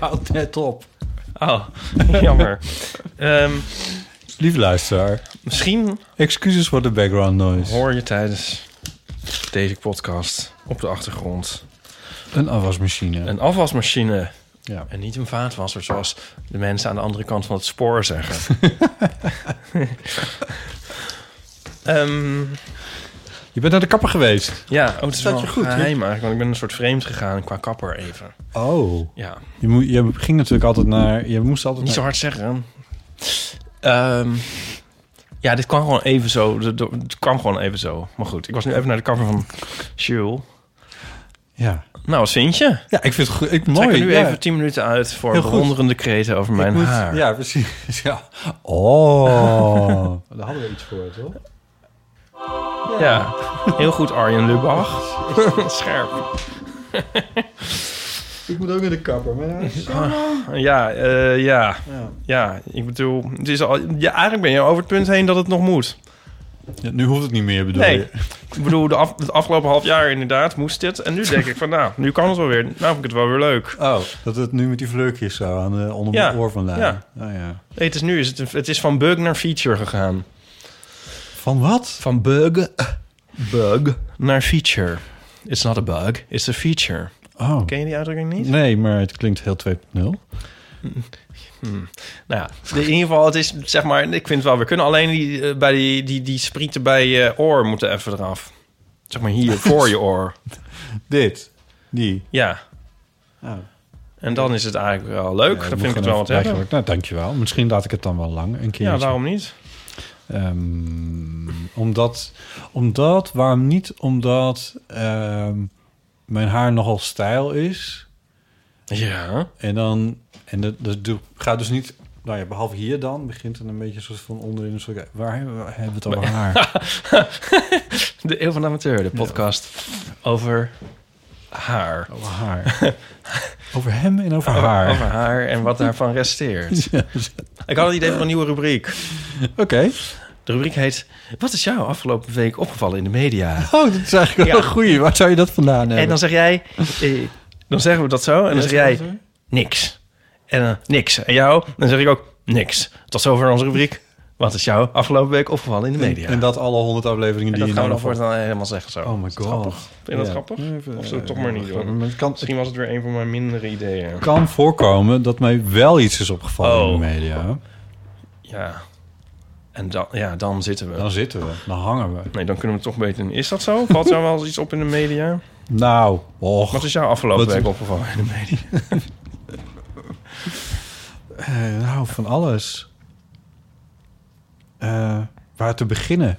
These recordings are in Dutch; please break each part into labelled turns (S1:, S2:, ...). S1: Houdt net op.
S2: Oh, jammer. Ehm,
S1: Lief luisteraar,
S2: misschien
S1: excuses voor de background noise.
S2: hoor je tijdens deze podcast op de achtergrond
S1: Een afwasmachine.
S2: een afwasmachine.
S1: Ja.
S2: En niet een vaatwasser, zoals de mensen aan de andere kant van het spoor zeggen. Ehm,
S1: Je bent naar de kapper geweest.
S2: ja, oh, het is
S1: Dat
S2: wel
S1: je
S2: een
S1: goed,
S2: geheim eigenlijk, want ik ben een soort vreemd gegaan qua kapper even.
S1: Oh.
S2: Ja,
S1: Je, moet, je ging natuurlijk altijd naar... Je moest altijd
S2: niet zo
S1: naar...
S2: hard zeggen. Ehm, ja, dit kwam gewoon even zo. De- de- Het kwam gewoon even zo. Maar goed, ik was nu even naar de cover van Jules.
S1: Ja.
S2: Nou, wat vind je?
S1: ja, ik vind het goed. Ik,
S2: Mooi,
S1: mooi.
S2: Trek er nu
S1: ja.
S2: even 10 minuten uit voor
S1: Heel goed.
S2: bewonderende kreten over mijn
S1: Ik moet-
S2: haar.
S1: Ja, precies. Ja. Oh. Daar hadden we iets voor, toch?
S2: Ja. Heel goed, Arjen Lubach. Scherp.
S1: Ik moet ook naar de kapper. Maar
S2: Ja, eh, ja. Ja, ik bedoel... Het is al, ja, eigenlijk ben je over het punt heen dat het nog moet.
S1: nu hoeft het niet meer, bedoel
S2: Nee.
S1: je?
S2: Ik bedoel, de af- het afgelopen half jaar inderdaad moest dit. En nu denk ik van, nou, nu kan het wel weer. Nou vind ik het wel weer leuk.
S1: Oh. Dat het nu met die vleukjes zo aan de, onder mijn
S2: Ja.
S1: oor vandaan.
S2: Ja.
S1: Oh, ja.
S2: Nee, het is nu is het, een- het is van bug naar feature gegaan.
S1: Van wat?
S2: Van bug... Bug. Naar feature. It's not a bug, it's a feature.
S1: Oh.
S2: Ken je die uitdrukking niet?
S1: Nee, maar het klinkt heel 2.0.
S2: Nou ja, in ieder geval, het is zeg maar, ik vind het wel, we kunnen alleen die, eh, bij die, die, die sprieten bij je oor moeten even eraf. Zeg maar hier, voor je oor.
S1: Dit. Die.
S2: Ja.
S1: Oh.
S2: En dan is het eigenlijk wel leuk. dan
S1: Ja, moet
S2: vind ik het
S1: gewoon
S2: wel wat
S1: Eh, even
S2: hebben.
S1: eigenlijk- Nou, dankjewel. Misschien laat ik het dan wel lang een keer.
S2: Ja, waarom niet?
S1: Ehm, omdat, omdat, waarom niet? Omdat ehm, mijn haar nogal stijl is.
S2: Ja.
S1: En dan, en dat, dat doe- gaat dus niet, nou ja, behalve hier dan, begint het een beetje een soort van onderin. Een soort, waar hebben we, hebben we het over haar?
S2: De Eeuw van de Amateur, de podcast over haar.
S1: over haar. over hem en over haar. dus,
S2: Over haar en wat daarvan resteert. Ik had het idee voor een nieuwe rubriek.
S1: Oké.
S2: De rubriek heet, wat is jou afgelopen week opgevallen in de media?
S1: Oh, dat is eigenlijk wel
S2: Ja.
S1: een goeie. Waar zou je dat vandaan hebben?
S2: En dan zeg jij, eh, dan zeggen we dat zo. En dan zeg jij, niks. En eh, niks. En jou? Dan zeg ik ook niks. Tot zover onze rubriek. Wat is jou afgelopen week opgevallen in de media?
S1: En dat alle honderd
S2: En
S1: afleveringen die
S2: dat
S1: je
S2: gaan
S1: nou
S2: we dan
S1: nog voor
S2: voortaan helemaal zeggen zo.
S1: Oh my
S2: Is dat
S1: god.
S2: grappig? Vind je dat grappig? Of
S1: eh,
S2: zullen we het toch maar niet doen?
S1: Het kan,
S2: Misschien was het weer een van mijn mindere ideeën.
S1: kan voorkomen dat mij wel iets is opgevallen in
S2: Oh.
S1: de media.
S2: Ja. En dan, ja, dan zitten we.
S1: Dan zitten we, dan hangen we.
S2: Nee, dan kunnen we het toch beter doen. Is dat zo? Valt jou wel eens iets op in de media?
S1: Nou, och.
S2: Wat is jou afgelopen
S1: Wat-
S2: week opgevallen in de media?
S1: eh, nou, van alles. Eh, waar te beginnen?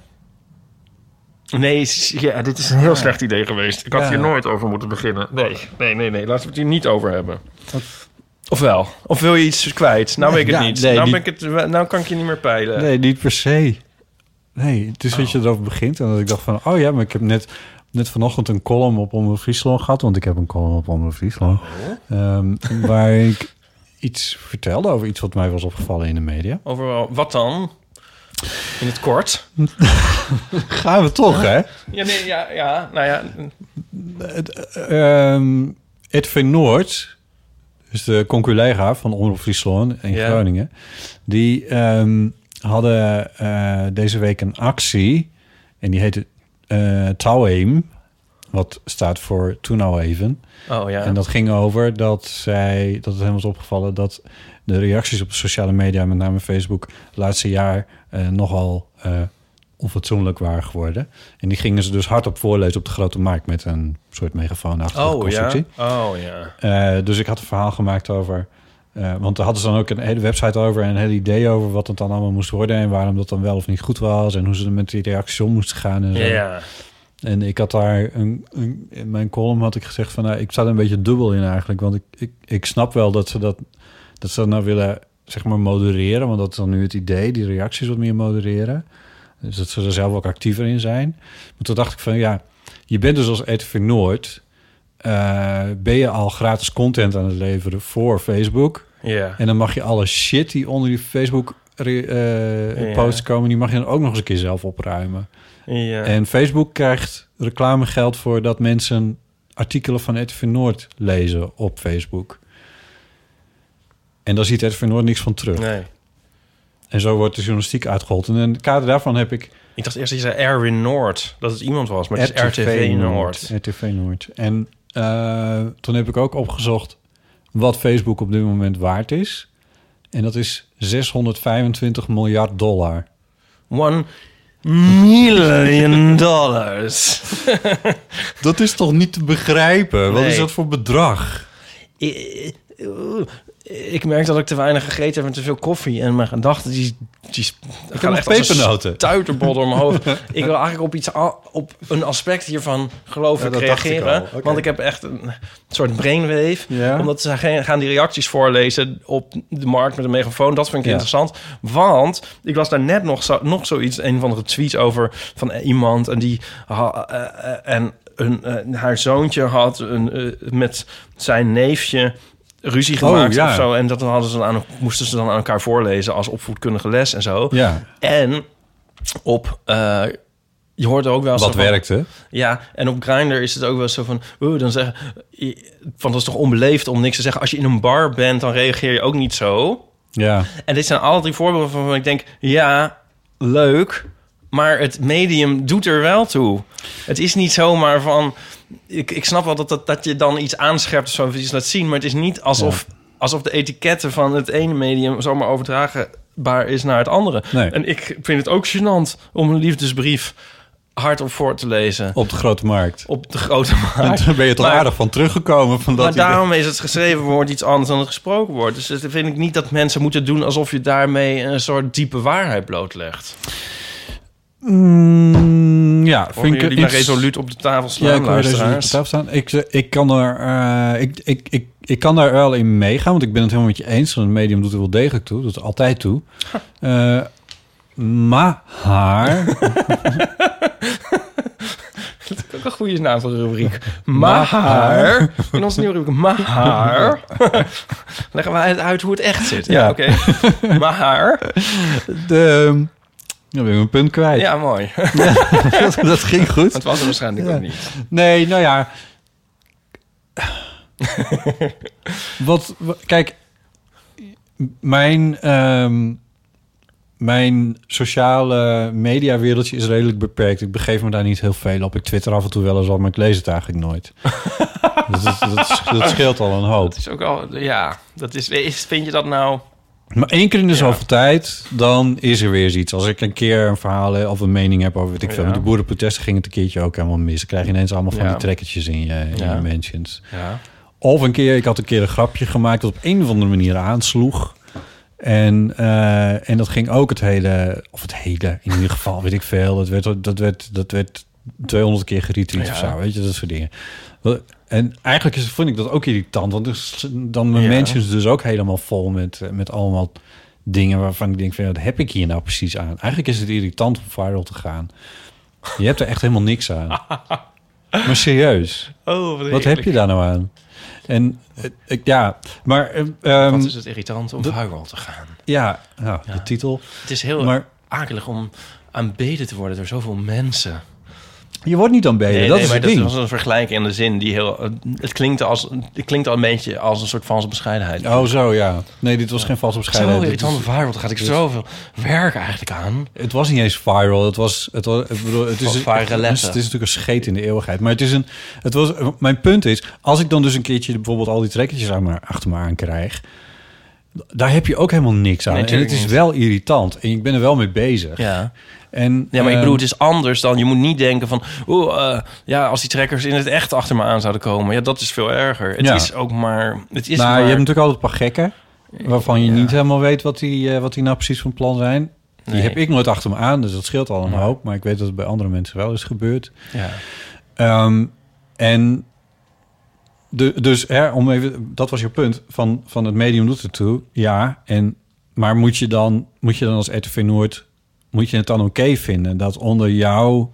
S2: Nee, s- ja, dit is een heel slecht idee geweest. Ik had
S1: Ah. Ja.
S2: hier nooit over moeten beginnen. Nee, nee, nee, nee. Laten we het hier niet over hebben. Ofwel. Of wil je iets kwijt? Nou weet ik het
S1: Ja,
S2: niet.
S1: nee,
S2: nou,
S1: die-
S2: ben ik het, nou kan ik je niet meer peilen.
S1: Nee, niet per se. Nee, het is
S2: Oh.
S1: dat je erover begint en dat ik dacht van... oh ja, maar ik heb net, net vanochtend een column op Omroep Friesland gehad... want ik heb een column op Omroep Friesland...
S2: Oh.
S1: ehm, waar ik iets vertelde over iets wat mij was opgevallen in de media.
S2: Overal. Wat dan? In het kort?
S1: Gaan we toch, hè?
S2: Ja, nee, ja, ja. Nou ja.
S1: Ehm Edwin Noord, dus de conculega van Omroep Friesland in
S2: Ja.
S1: Groningen... die ehm, hadden eh, deze week een actie en die heette eh Touwheim... wat staat voor Toen Nou Even...
S2: Oh ja.
S1: En dat ging over dat zij, dat het hem was opgevallen dat de reacties op de sociale media, met name Facebook, het laatste jaar eh, nogal eh, onfatsoenlijk waren geworden. En die gingen ze dus hardop voorlezen op de grote markt met een soort megafoonachtige
S2: oh ja.
S1: constructie.
S2: Oh ja.
S1: Eh, dus ik had een verhaal gemaakt over. eh, want daar hadden ze dan ook een hele website over en een hele idee over wat het dan Dus, eh, allemaal moest worden en waarom dat dan wel of niet goed was en hoe ze er met die reacties om moesten gaan. En zo.
S2: Ja.
S1: En ik had daar een, een- in mijn column had ik gezegd van nou, ik sta er een beetje dubbel in eigenlijk. Want ik, ik, ik snap wel dat ze dat, dat ze dat nou willen zeg maar modereren. Want dat is dan nu het idee, die reacties wat meer modereren. Dus dat ze er zelf ook actiever in zijn. Maar toen dacht ik van ja, je bent dus als RTV Noord... eh, ben je al gratis content aan het leveren voor Facebook...
S2: Ja.
S1: En dan mag je alle shit die onder die Facebook re- eh,
S2: Ja.
S1: posts komen, die mag je dan ook nog eens een keer zelf opruimen.
S2: ja.
S1: En Facebook krijgt reclamegeld voor dat mensen artikelen van RTV Noord lezen op Facebook. En daar ziet RTV Noord niks van terug.
S2: Nee.
S1: En zo wordt de journalistiek uitgehold. En in het kader daarvan heb ik
S2: Ik dacht eerst dat je zei Erwin Noord. Dat het iemand was, maar het is RTV Noord.
S1: RTV Noord. En eh, toen heb ik ook opgezocht wat Facebook op dit moment waard is. En dat is 625 miljard dollar.
S2: One million dollars.
S1: Dat is toch niet te begrijpen? Wat
S2: Nee.
S1: is dat voor bedrag?
S2: I- oeh. Ik merk dat ik te weinig gegeten heb en te veel koffie. En mijn gedachten die, die ik
S1: nog pepernoten.
S2: Tuiterbol door mijn hoofd. ik wil eigenlijk op, iets, a- op een aspect hiervan geloof
S1: Ja,
S2: ik
S1: dat dacht ik
S2: reageren.
S1: al. Oké.
S2: Want ik heb echt een soort brainwave.
S1: Ja.
S2: Omdat ze gaan- gaan die reacties voorlezen op de markt met een megafoon. Dat vind ik
S1: Ja.
S2: interessant. Want ik las daar net nog, zo, nog zoiets, een van de tweets over van iemand. En die ha- eh, eh, en een, eh, haar zoontje had een, eh, met zijn neefje ruzie
S1: Oh,
S2: gemaakt
S1: ja.
S2: of zo. En dat hadden ze dan aan, moesten ze dan aan elkaar voorlezen als opvoedkundige les en zo.
S1: Ja,
S2: En op... eh, je hoort er ook wel eens
S1: wat
S2: van-
S1: werkte?
S2: ja, en op Grindr is het ook wel zo van... oeh, dan zeggen... Van, dat is toch onbeleefd om niks te zeggen. Als je in een bar bent, dan reageer je ook niet zo.
S1: Ja,
S2: En dit zijn alle drie voorbeelden waarvan ik denk... Ja, leuk, maar het medium doet er wel toe. Het is niet zomaar van... Ik, ik snap wel dat, dat, dat je dan iets aanscherpt of zo, of iets laat zien... maar het is niet alsof, alsof de etiketten van het ene medium... zomaar overdragenbaar is naar het andere.
S1: Nee.
S2: En ik vind het ook gênant om een liefdesbrief hardop voor te lezen
S1: op de grote markt.
S2: op de grote
S1: En
S2: markt.
S1: daar ben je toch
S2: Maar-
S1: aardig van teruggekomen van dat
S2: maar
S1: idee.
S2: daarom is het geschreven woord iets anders dan het gesproken woord. Dus dat vind ik niet dat mensen moeten doen alsof je daarmee een soort diepe waarheid blootlegt.
S1: Mm, ja,
S2: Horen
S1: vind ik
S2: jullie maar
S1: iets-
S2: resoluut op de tafel
S1: Ja,
S2: slaan,
S1: ik hoor deze op de
S2: luisteraars?
S1: tafel staan. Ik, ik, kan er, eh, ik, ik, ik, ik kan daar wel in meegaan, want ik ben het helemaal met je eens. Want het medium doet er wel degelijk toe, doet er altijd toe. Eh, maar haar,
S2: Ook een goede naam voor de rubriek. Maar, in onze nieuwe rubriek, maar... leggen wij het uit hoe het echt zit.
S1: Ja.
S2: Oké, maar...
S1: de, dan ben ik mijn punt kwijt.
S2: Ja, mooi.
S1: dat ging goed.
S2: Het was er waarschijnlijk
S1: Ja.
S2: ook niet.
S1: Nee, nou ja. wat, wa- kijk, mijn, ehm, mijn sociale mediawereldje is redelijk beperkt. Ik begeef me daar niet heel veel op. Ik twitter af en toe wel eens wat, maar ik lees het eigenlijk nooit. dat, is- dat, is- dat scheelt al een hoop.
S2: Het is ook al... Ja, dat is, is- vind je dat nou...
S1: Maar één keer in de zoveel tijd, dan is er weer eens iets. Als ik een keer een verhaal eh, of een mening heb over, weet ik veel.
S2: Ja.
S1: Met die boerenprotesten ging het een keertje ook helemaal mis. Dan krijg je ineens allemaal van
S2: Ja.
S1: die trekkertjes in je, in
S2: Ja.
S1: je mentions.
S2: Ja.
S1: Of een keer, ik had een keer een grapje gemaakt dat op een of andere manier aansloeg. En, eh, en dat ging ook het hele, of het hele, in ieder geval, weet ik veel. Dat werd, dat werd, dat werd 200 keer geretweet of
S2: Ja.
S1: zo, weet je, dat soort dingen. Wel, En eigenlijk is, vond ik dat ook irritant, want dus, dan mijn
S2: Ja.
S1: mensen dus ook helemaal vol met, eh, met allemaal dingen waarvan ik denk, van, ja, wat heb ik hier nou precies aan? Eigenlijk is het irritant om viral te gaan. Je hebt er echt helemaal niks aan. Maar serieus.
S2: Oh,
S1: Wat heb je daar nou aan? En eh, ik, ja, maar eh, ehm,
S2: Wat is het irritant om vuil te gaan.
S1: ja, nou, de titel.
S2: Het is heel
S1: Maar-
S2: akelig om aanbeden te worden door zoveel mensen.
S1: Je wordt niet aanbeden, dat is
S2: maar
S1: het ding.
S2: was een vergelijking in de zin die heel... eh, Het klinkt, als, het klinkt al een beetje als een soort valse bescheidenheid.
S1: Oh, zo ja. Nee, dit was geen valse
S2: Zo
S1: bescheidenheid. Dit
S2: irritant om
S1: was-
S2: viral te gaan. Ik heb zoveel werk eigenlijk aan.
S1: Het was niet eens viral. Het was, het was, ik bedoel, het is,
S2: Van viraletten.
S1: het is natuurlijk een scheet in de eeuwigheid. Maar het is een, het was, mijn punt is, als ik dan dus een keertje bijvoorbeeld al die trekkertjes aan me, achter me aan krijg, daar heb je ook helemaal niks aan.
S2: Nee,
S1: en het
S2: natuurlijk
S1: is
S2: niet.
S1: wel irritant. En ik ben er wel mee bezig.
S2: Ja.
S1: En,
S2: Ja, maar ik
S1: ehm,
S2: bedoel, het is anders dan... Je moet niet denken van... Oh, eh, ja, als die trekkers in het echt achter me aan zouden komen. Ja, dat is veel erger. Het
S1: Ja.
S2: is ook maar... Het is
S1: nou,
S2: maar
S1: je hebt natuurlijk altijd een paar gekken... waarvan je
S2: Ja.
S1: niet helemaal weet wat die, eh, wat die nou precies van plan zijn. Die
S2: Nee.
S1: heb ik nooit achter me aan, dus dat scheelt al een
S2: Ja.
S1: hoop. Maar ik weet dat het bij andere mensen wel is gebeurd.
S2: Ja.
S1: Ehm, en de, dus hè, om even, dat was je punt van, van het medium doet ertoe. Ja, en, maar moet je, dan, moet je dan als RTV Noord, moet je het dan oké vinden dat onder jouw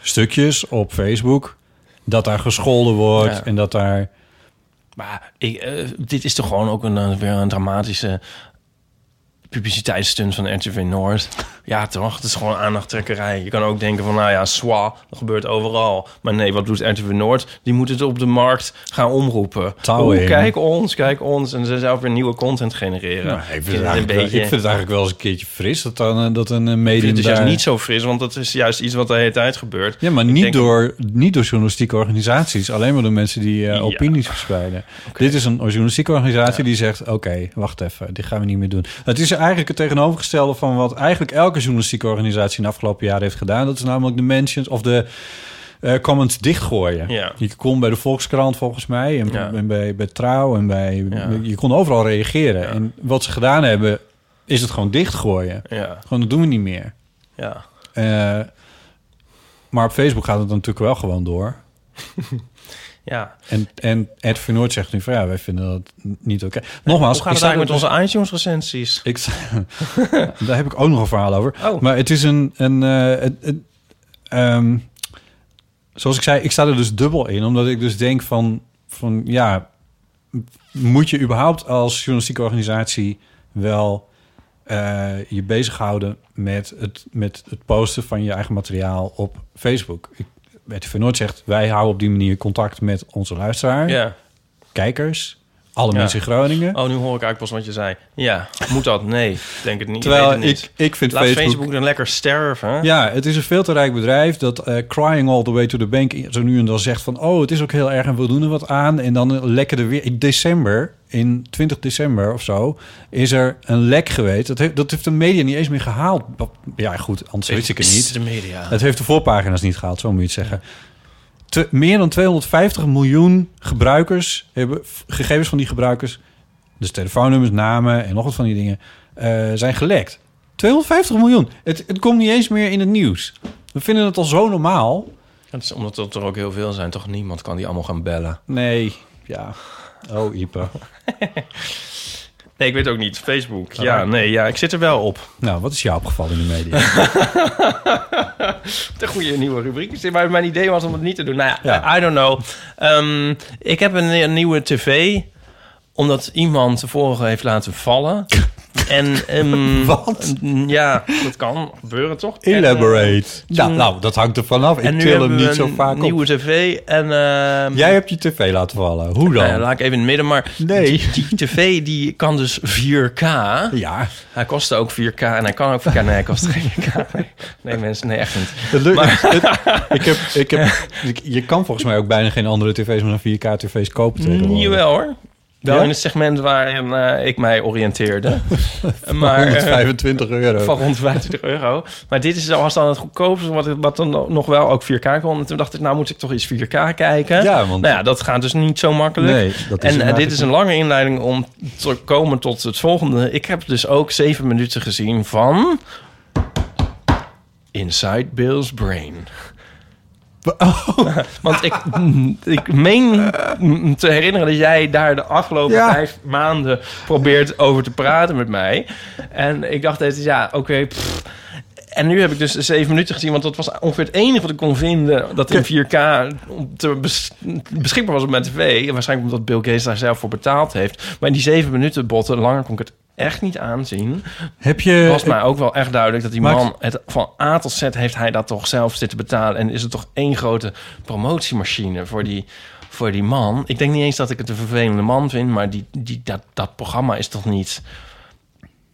S1: stukjes op Facebook, dat daar gescholden wordt
S2: Ja.
S1: en dat daar...
S2: Maar ik, eh, dit is toch gewoon ook een, eh, weer een dramatische publiciteitsstunt van RTV Noord. Ja, toch? Het is gewoon aandachttrekkerij. Je kan ook denken van, nou ja, swa, dat gebeurt overal. Maar nee, wat doet RTV Noord? Die moet het op de markt gaan omroepen. Oh,
S1: Touwen in.
S2: kijk ons, kijk ons. En ze zelf weer nieuwe content genereren.
S1: Nou, ik, vind
S2: Ik
S1: het
S2: vind het
S1: eigenlijk wel- ik vind het eigenlijk wel eens een keertje fris dat, dan, eh, dat een eh,
S2: ik
S1: medium
S2: vind het dus juist
S1: daar-
S2: niet zo fris, want dat is juist iets wat de hele tijd gebeurt.
S1: Ja, maar niet,
S2: denk-
S1: door, niet door journalistieke organisaties. Alleen maar door mensen die eh, opinies verspreiden. Dit is een journalistieke organisatie die zegt... oké, wacht even, dit gaan we niet meer doen. Het is eigenlijk het tegenovergestelde van wat eigenlijk elke journalistieke organisatie... in de afgelopen jaren heeft gedaan. Dat is namelijk de mentions of de eh, comments dichtgooien.
S2: Ja.
S1: Je kon bij de Volkskrant volgens mij en,
S2: Ja.
S1: en bij, bij Trouw en bij...
S2: Ja.
S1: Je kon overal reageren. En wat ze gedaan hebben, is het gewoon dichtgooien.
S2: Ja,
S1: Gewoon, dat doen we niet meer.
S2: ja.
S1: Eh, maar op Facebook gaat het dan natuurlijk wel gewoon door.
S2: ja.
S1: En, en Ed Vernoord zegt nu van ja, wij vinden dat n- niet oké. Nogmaals,
S2: Hoe gaat
S1: ik
S2: het
S1: sta-
S2: eigenlijk
S1: dus-
S2: met onze iTunes-recensies?
S1: Ik, sta- daar heb ik ook nog een verhaal over.
S2: Oh.
S1: Maar het is een... een eh, het- het- ehm, zoals ik zei, ik sta er dus dubbel in. Omdat ik dus denk van... van ja, m- moet je überhaupt als journalistieke organisatie wel eh, je bezighouden met het, met het posten van je eigen materiaal op Facebook? Ik, RTV Noord zegt, wij houden op die manier contact met onze luisteraar,
S2: Ja.
S1: kijkers, alle
S2: Ja.
S1: mensen in Groningen.
S2: Oh, nu hoor ik eigenlijk pas wat je zei. Ja, moet dat? Nee, ik denk het niet.
S1: Terwijl
S2: Ik weet het niet.
S1: ik, ik vind
S2: Laat
S1: Facebook...
S2: Facebook... dan lekker sterven. hè?
S1: Ja, het is een veel te rijk bedrijf dat eh, crying all the way to the bank zo nu en dan zegt van... oh, het is ook heel erg en we doen er wat aan. En dan lekken er weer... In december, in 20 december of zo, is er een lek geweest. Dat heeft, dat heeft de media niet eens meer gehaald. Ja, goed, anders weet ik het niet.
S2: De media.
S1: Het heeft de voorpagina's niet gehaald, zo moet je het zeggen. Te- meer dan 250 miljoen gebruikers hebben f- gegevens van die gebruikers, dus telefoonnummers, namen en nog wat van die dingen, eh, zijn gelekt. 250 miljoen. Het, het komt niet eens meer in het nieuws. We vinden het al zo normaal.
S2: Dat is omdat dat er ook heel veel zijn. Toch niemand kan die allemaal gaan bellen.
S1: Nee, ja. Oh, Ipe.
S2: Nee, ik weet ook niet. Facebook. Ja, nee, ja, ik zit er wel op.
S1: Nou, wat is jou opgevallen in de media?
S2: De goede nieuwe rubriek. is dit, Maar mijn idee was om het niet te doen. Nou ja,
S1: Ja.
S2: I don't know. Ehm, ik heb een, een nieuwe tv. Omdat iemand de vorige heeft laten vallen. en, ehm,
S1: Wat?
S2: Ja, dat kan gebeuren toch? En, eh,
S1: Elaborate. nou, nou, dat hangt er vanaf.
S2: En
S1: Ik
S2: nu
S1: til hem
S2: hebben
S1: niet
S2: we
S1: zo
S2: een
S1: vaak
S2: nieuwe
S1: op.
S2: tv. En, ehm,
S1: Jij hebt je tv laten vallen. Hoe dan?
S2: Nou ja, laat ik even in het midden, maar
S1: Nee.
S2: die, die tv die kan dus 4K.
S1: Ja,
S2: Hij kostte ook 4K en hij kan ook 4K. Nee, hij kost geen 4K. Nee, nee mensen, nee, echt niet.
S1: Het lukt. het- ik heb, ik heb, ik- je kan volgens mij ook bijna geen andere tv's met een 4K-tv's kopen tegenwoordig.
S2: Mm, Jawel hoor. Wel
S1: Ja?
S2: in het segment waarin eh, ik mij oriënteerde. maar eh,
S1: 125 euro.
S2: van rond 25 euro. Maar dit is, was dan het goedkoopste, wat, wat dan nog wel ook 4K kon. En toen dacht ik, nou moet ik toch eens 4K kijken.
S1: Ja, want-
S2: Nou ja, dat gaat dus niet zo makkelijk.
S1: Nee, dat is
S2: en eh,
S1: inderdaad
S2: dit is een lange inleiding om te komen tot het volgende. Ik heb dus ook zeven minuten gezien van... Inside Bill's Brain.
S1: oh.
S2: Want ik, mm, ik meen te herinneren dat jij daar de afgelopen
S1: Ja.
S2: vijf maanden probeert over te praten met mij. En ik dacht steeds, ja, oké. pff. en nu heb ik dus zeven minuten gezien, want dat was ongeveer het enige wat ik kon vinden dat in 4K te bes- beschikbaar was op mijn tv. En waarschijnlijk omdat Bill Gates daar zelf voor betaald heeft. Maar in die zeven minuten botten, langer kon ik het echt niet aanzien.
S1: heb je...
S2: was mij ook wel echt duidelijk dat die
S1: Maakt-
S2: man het van A tot Z heeft hij dat toch zelf zitten betalen en is het toch één grote promotiemachine voor die voor die man. Ik denk niet eens dat ik het een vervelende man vind, maar die, die, dat, dat programma is toch niet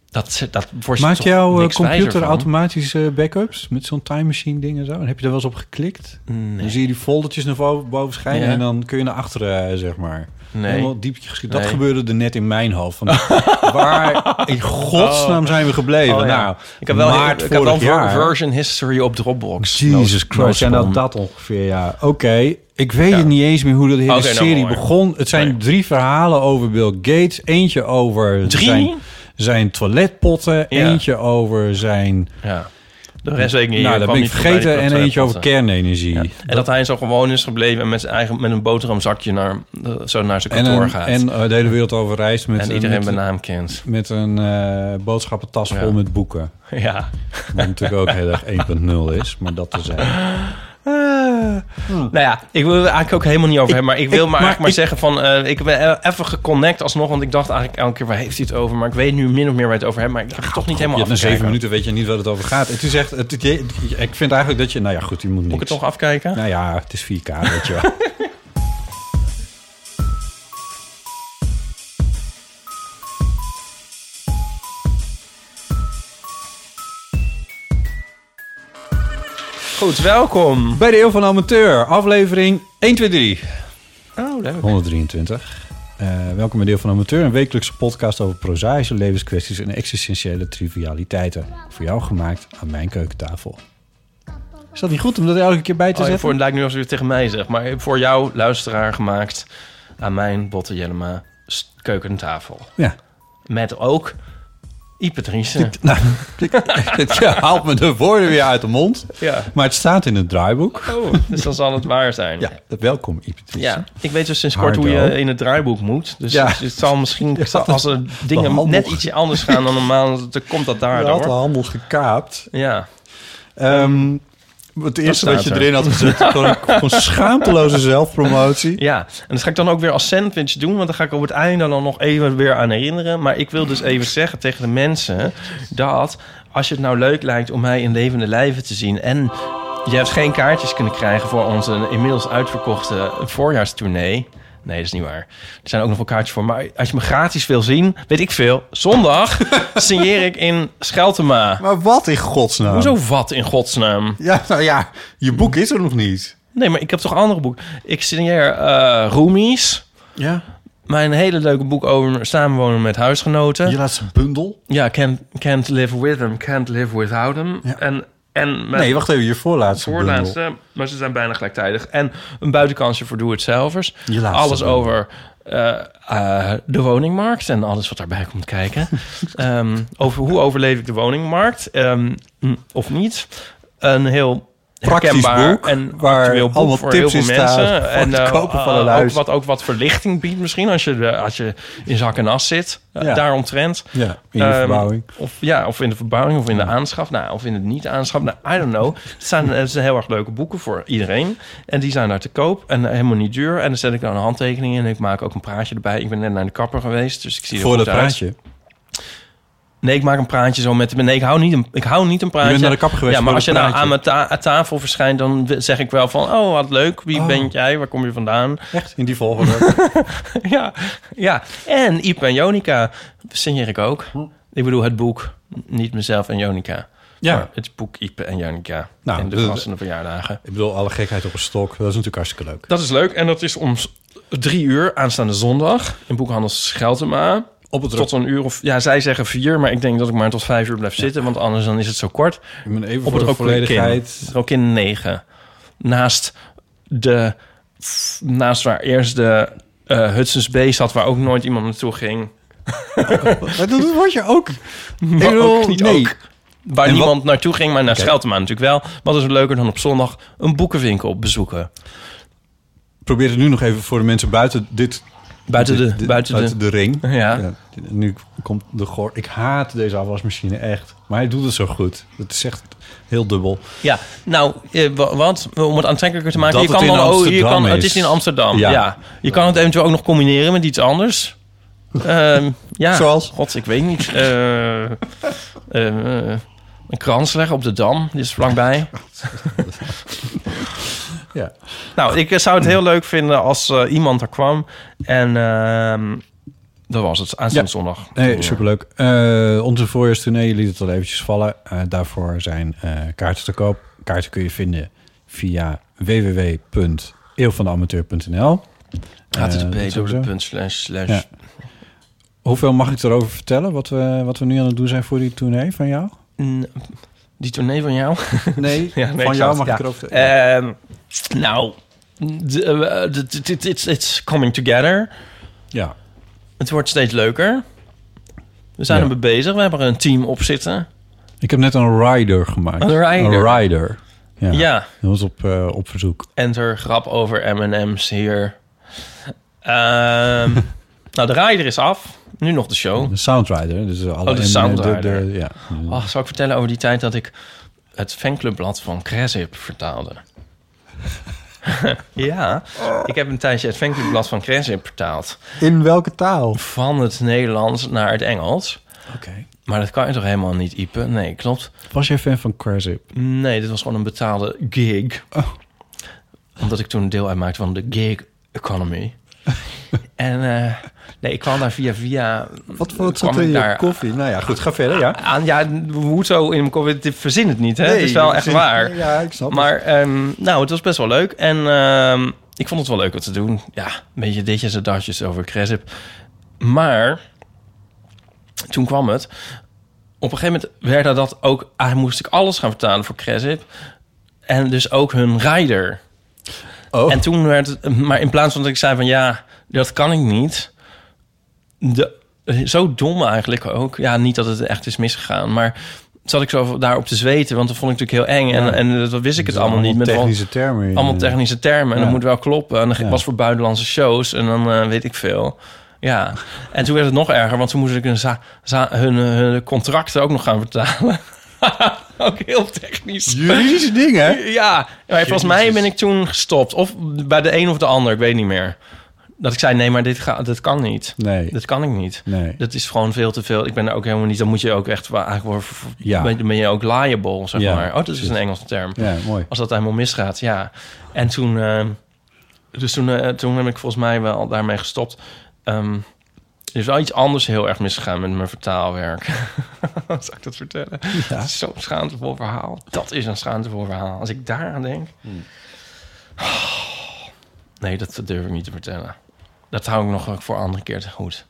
S2: dat dat wordt
S1: Maakt
S2: toch
S1: jouw eh,
S2: niks wijzer
S1: computer
S2: van?
S1: automatisch eh, backups met zo'n time machine ding en zo? En heb je daar wel eens op geklikt? Dan zie je die foldertjes naar boven, boven schijnen
S2: Ja.
S1: en dan kun je naar achteren, eh, zeg maar.
S2: Nee.
S1: Helemaal diepje geschieden. Dat
S2: Nee.
S1: gebeurde er net in mijn hoofd. Van, waar in godsnaam zijn we gebleven?
S2: Oh, ja.
S1: Nou,
S2: ik heb wel
S1: maart
S2: ik heb wel
S1: vorig jaar-
S2: version history op Dropbox.
S1: Jesus
S2: No- no
S1: Christ. En
S2: spam.
S1: dat, dat ongeveer, ja. Oké, ik weet het niet eens meer hoe de hele
S2: Oké, nou
S1: serie
S2: mooi.
S1: begon. Het zijn
S2: Nee.
S1: drie verhalen over Bill Gates. Eentje over
S2: Drie?
S1: zijn, zijn toiletpotten.
S2: Ja.
S1: Eentje over zijn...
S2: Ja. De rest weet ik niet.
S1: nou,
S2: Ik
S1: dat
S2: kwam
S1: ben ik
S2: niet voorbij die
S1: vergeten. En eentje over
S2: toiletpotten.
S1: kernenergie.
S2: Ja. eh. En dat hij zo gewoon is gebleven en met, zijn eigen, met een boterhamzakje naar, eh, zo naar zijn
S1: En,
S2: kantoor
S1: een-
S2: gaat.
S1: en eh, de hele wereld over reist met,
S2: En iedereen
S1: met,
S2: bij naam kent.
S1: met een eh, boodschappentas vol
S2: Ja.
S1: met boeken.
S2: Ja.
S1: Wat natuurlijk ook heel erg 1.0 is, maar dat te zijn. Ah.
S2: Nou ja, ik wil er eigenlijk ook helemaal niet over hebben. Maar ik wil maar, eigenlijk maar zeggen van... eh, ik ben e- even geconnect alsnog. Want ik dacht eigenlijk elke keer, waar heeft hij het over? Maar ik weet nu min of meer waar het over hebben. Maar ik heb het toch niet
S1: Je
S2: helemaal
S1: hebt na
S2: afkijken.
S1: zeven minuten weet je niet wat het over gaat. Het is echt, het, het- ik vind eigenlijk dat je, nou ja, goed, je moet niet.
S2: Moet ik het toch afkijken?
S1: Nou ja, het is 4K, weet je wel.
S2: Goed, welkom.
S1: Bij de Eeuw van de Amateur, aflevering 123.
S2: Oh, leuk.
S1: 123. Eh, welkom bij Deel van Amateur, een wekelijkse podcast over prozaïsche levenskwesties en existentiële trivialiteiten. Voor jou gemaakt aan mijn keukentafel. Is dat niet goed om dat elke keer bij te
S2: Oh, ja,
S1: zetten?
S2: voor, het lijkt nu alsof je het tegen mij zegt. Maar voor jou, luisteraar, gemaakt aan mijn Botte Jellema s- keukentafel.
S1: Ja.
S2: Met ook Ipe Driessen.
S1: Nou, Het haalt me de woorden weer uit de mond.
S2: Ja.
S1: Maar het staat in het draaiboek.
S2: Oh, dus dan zal het waar zijn.
S1: Ja, welkom Ipetis.
S2: Ja, ik weet dus sinds kort hoe
S1: Hardo.
S2: je in het draaiboek moet. Dus
S1: Ja.
S2: het, het zal misschien,
S1: dat
S2: als er dingen
S1: handig.
S2: net ietsje anders gaan dan normaal, dan komt dat
S1: Je had de
S2: daardoor.
S1: handel gekaapt.
S2: Ja,
S1: Ehm, het eerste
S2: staat
S1: dat je
S2: er.
S1: erin had gezet, gewoon, gewoon schaamteloze zelfpromotie.
S2: ja, en dat ga ik dan ook weer als sandwich doen, want dan ga ik op het einde dan nog even weer aan herinneren. Maar ik wil dus even zeggen tegen de mensen dat als je het nou leuk lijkt om mij in levende lijven te zien en je hebt geen kaartjes kunnen krijgen voor onze inmiddels uitverkochte voorjaarstournee. Nee, dat is niet waar. Er zijn ook nog wel kaartjes voor. Maar als je me gratis wil zien, weet ik veel. Zondag signeer ik in Scheltema. Ehm.
S1: Maar wat in godsnaam?
S2: Hoezo wat in godsnaam?
S1: Ja, nou ja, je boek is er nog niet.
S2: Nee, maar ik heb toch andere boeken. Ik signeer eh Roomies.
S1: Ja.
S2: Mijn hele leuke boek over samenwonen met huisgenoten.
S1: Je laatste bundel.
S2: Ja, can't, can't live with them, can't live without them.
S1: Ja.
S2: En, en mijn
S1: Nee, wacht even, je voorlaatste
S2: voorlaatste,
S1: bundel.
S2: maar ze zijn bijna gelijktijdig. En een buitenkansje voor doe-het-zelvers.
S1: Je laatste
S2: Alles
S1: bundel.
S2: over eh, eh, de woningmarkt en alles wat daarbij komt kijken. Ehm, over hoe overleef ik de woningmarkt ehm, mm, of niet. Een heel
S1: Praktisch
S2: herkenbaar
S1: boek,
S2: en
S1: waar
S2: actueel boek
S1: allemaal
S2: voor
S1: tips
S2: heel veel
S1: in staan
S2: mensen.
S1: voor
S2: en
S1: het
S2: eh,
S1: kopen van een
S2: ook
S1: huis.
S2: wat, ook wat verlichting biedt misschien als je, de- als je in zak en as zit. eh,
S1: Ja.
S2: Daaromtrent.
S1: Ja, in je
S2: Ehm,
S1: verbouwing.
S2: Of, ja, of in de verbouwing, of in de aanschaf, nou, of in het niet-aanschaf. Nou, I don't know. Het zijn, het zijn heel erg leuke boeken voor iedereen. En die zijn daar te koop en eh, helemaal niet duur. En dan zet ik dan een handtekening in en ik maak ook een praatje erbij. Ik ben net naar de kapper geweest, dus ik zie er
S1: Voor
S2: goed
S1: dat
S2: uit.
S1: praatje.
S2: Nee, ik maak een praatje zo met... Nee, ik hou niet een, ik hou niet een praatje.
S1: bent naar de kapper geweest
S2: Ja, maar
S1: voor
S2: als je
S1: een
S2: nou
S1: praatje.
S2: aan mijn ta- aan tafel verschijnt... dan w- zeg ik wel van... Oh, wat leuk. Wie
S1: Oh.
S2: bent jij? Waar kom je vandaan?
S1: Echt? In die volgorde.
S2: ja, ja. En Iep en Jonica signeer ik ook.
S1: Hm.
S2: Ik bedoel, het boek. Niet mezelf en Jonica.
S1: Ja.
S2: Maar het boek Ipe en Jonica.
S1: Nou,
S2: in de
S1: dat-
S2: passende verjaardagen.
S1: ik bedoel, alle gekheid op een stok. Dat is natuurlijk hartstikke leuk.
S2: Dat is leuk. En dat is om s- drie uur aanstaande zondag. In boekhandel Scheltema.
S1: Op het
S2: Tot een uur of... Ja, zij zeggen vier. Maar ik denk dat ik maar tot vijf uur blijf zitten. Want anders dan is het zo kort.
S1: Ik ben even
S2: Op
S1: voor
S2: het
S1: de
S2: Rokin.
S1: volledigheid.
S2: Rokin 9. Naast de... Naast waar eerst de eh Hudson's Bay zat... waar ook nooit iemand naartoe ging.
S1: Maar dat word je ook.
S2: Maar
S1: Ik bedoel,
S2: ook niet
S1: oh, nee.
S2: ook. Waar
S1: En wat-
S2: niemand naartoe ging, maar naar
S1: Oké.
S2: Scheltema natuurlijk wel. Wat is er leuker dan op zondag een boekenwinkel bezoeken?
S1: Probeer het nu nog even voor de mensen buiten dit...
S2: Buiten de-
S1: dit- dit-
S2: buiten de-
S1: ring.
S2: Ja.
S1: dit- Nu komt de goor... Ik haat deze afwasmachine echt. Maar hij doet het zo goed. Het is echt heel dubbel.
S2: Ja, nou, eh, wa- wat? Om het aantrekkelijker te maken.
S1: Dat
S2: je kan
S1: het in
S2: dan, oh, je
S1: Amsterdam
S2: kan, Het is
S1: is.
S2: in Amsterdam, ja.
S1: Ja.
S2: Je kan het eventueel ook nog combineren met iets anders. Ehm, ja.
S1: Zoals?
S2: God, ik weet niet. Eh, eh, eh, een krans leggen op de Dam. Die is vlakbij.
S1: Ja.
S2: Nou, ik eh, zou het heel leuk vinden als eh, iemand er kwam. En ehm, dat was het. Aanstaande
S1: Ja.
S2: zondag.
S1: Nee, superleuk. Eh onze voorjaarstournee liet het al eventjes vallen. Eh, daarvoor zijn eh, kaarten te koop. Kaarten kun je vinden via www.eeuwvandeamateur.nl. Eh, dat sowieso.
S2: http://.
S1: Ja. Hoeveel mag ik erover vertellen? Wat we, wat we nu aan het doen zijn voor die tournee van jou?
S2: Mm, Die tournee van jou?
S1: Nee,
S2: Ja, nee,
S1: van
S2: ik
S1: jou
S2: zou het-
S1: mag ik
S2: ja.
S1: erover vertellen.
S2: Ehm, nou, d- eh, d- d- d- it's, it's coming together.
S1: ja.
S2: Het wordt steeds leuker. We zijn
S1: Ja.
S2: ermee bezig. We hebben er een team op zitten.
S1: Ik heb net een rider gemaakt.
S2: Een rider.
S1: Een rider. Ja.
S2: Ja.
S1: Dat was op, eh, op verzoek.
S2: Enter grap over M&M's hier. Ehm, nou, de rider is af. Nu nog de show.
S1: De Soundrider. Dus alle
S2: Oh, de
S1: en-
S2: Soundrider.
S1: de- ja.
S2: Oh, zal ik vertellen over die tijd dat ik het fanclubblad van Cresip vertaalde? ja, ik heb een tijdje het fanclubblad van Cresip vertaald.
S1: In welke taal?
S2: Van het Nederlands naar het Engels.
S1: Oké.
S2: Maar dat kan je toch helemaal niet, Ipe? Nee, klopt.
S1: Was jij fan van Crazip?
S2: Nee, dit was gewoon een betaalde gig.
S1: Oh.
S2: Omdat ik toen deel uitmaakte van de gig economy. en eh, nee, ik kwam daar via via...
S1: Wat voor het
S2: kwam
S1: zat in
S2: ik
S1: je
S2: daar
S1: koffie? Nou ja, goed, ga verder, ja.
S2: Aan, ja, hoezo in mijn COVID, dit verzin het niet, hè? het is
S1: Nee,
S2: wel
S1: dat
S2: echt waar.
S1: Ja, ik snap het.
S2: Maar ehm, nou, het was best wel leuk. En ehm, ik vond het wel leuk wat te doen. Ja, een beetje ditjes en datjes over Cresip. Maar toen kwam het. Op een gegeven moment werd er dat ook... Ah, moest ik alles gaan vertalen voor Cresip. En dus ook hun rider.
S1: Oh.
S2: En toen werd het... Maar in plaats van dat ik zei van... Ja, dat kan ik niet. De, zo dom eigenlijk ook. Ja, niet dat het echt is misgegaan. Maar zat ik zo daarop te zweten. Want dat vond ik natuurlijk heel eng. En,
S1: Ja.
S2: en dat wist ik
S1: Dus
S2: het allemaal niet. Met al-
S1: technische termen. in,
S2: allemaal
S1: eh,
S2: technische termen. En
S1: Ja.
S2: dat moet wel kloppen. En dan
S1: Ja.
S2: was voor buitenlandse shows. En dan eh, weet ik veel. Ja. En toen werd het nog erger. Want toen moest ik hun, za- za- hun, eh, hun contracten ook nog gaan vertalen. ook heel technisch.
S1: Juridische dingen.
S2: Ja, maar volgens mij ben ik toen gestopt. Of bij de een of de ander, ik weet niet meer. Dat ik zei, nee, maar dit, ga, dit kan niet.
S1: Nee.
S2: Dat kan ik niet.
S1: Nee.
S2: Dat is gewoon veel te veel. Ik ben er ook helemaal niet... Dan moet je ook echt... wa- Eigenlijk worden ver-
S1: Ja.
S2: ben, dan ben je ook liable, zeg
S1: Ja,
S2: maar. Oh, dat is
S1: precies.
S2: een Engelse term.
S1: Ja, mooi.
S2: Als dat helemaal misgaat, ja. En toen... eh, dus toen, eh, toen heb ik volgens mij wel daarmee gestopt. Ehm, er is wel iets anders heel erg misgegaan met mijn vertaalwerk. Zal ik dat vertellen? Dat is zo'n schaamtevol verhaal. Dat is een schaamtevol verhaal. Als ik daaraan denk...
S1: Hmm.
S2: Nee, dat durf ik niet te vertellen. Dat hou ik nog voor een andere keer te goed.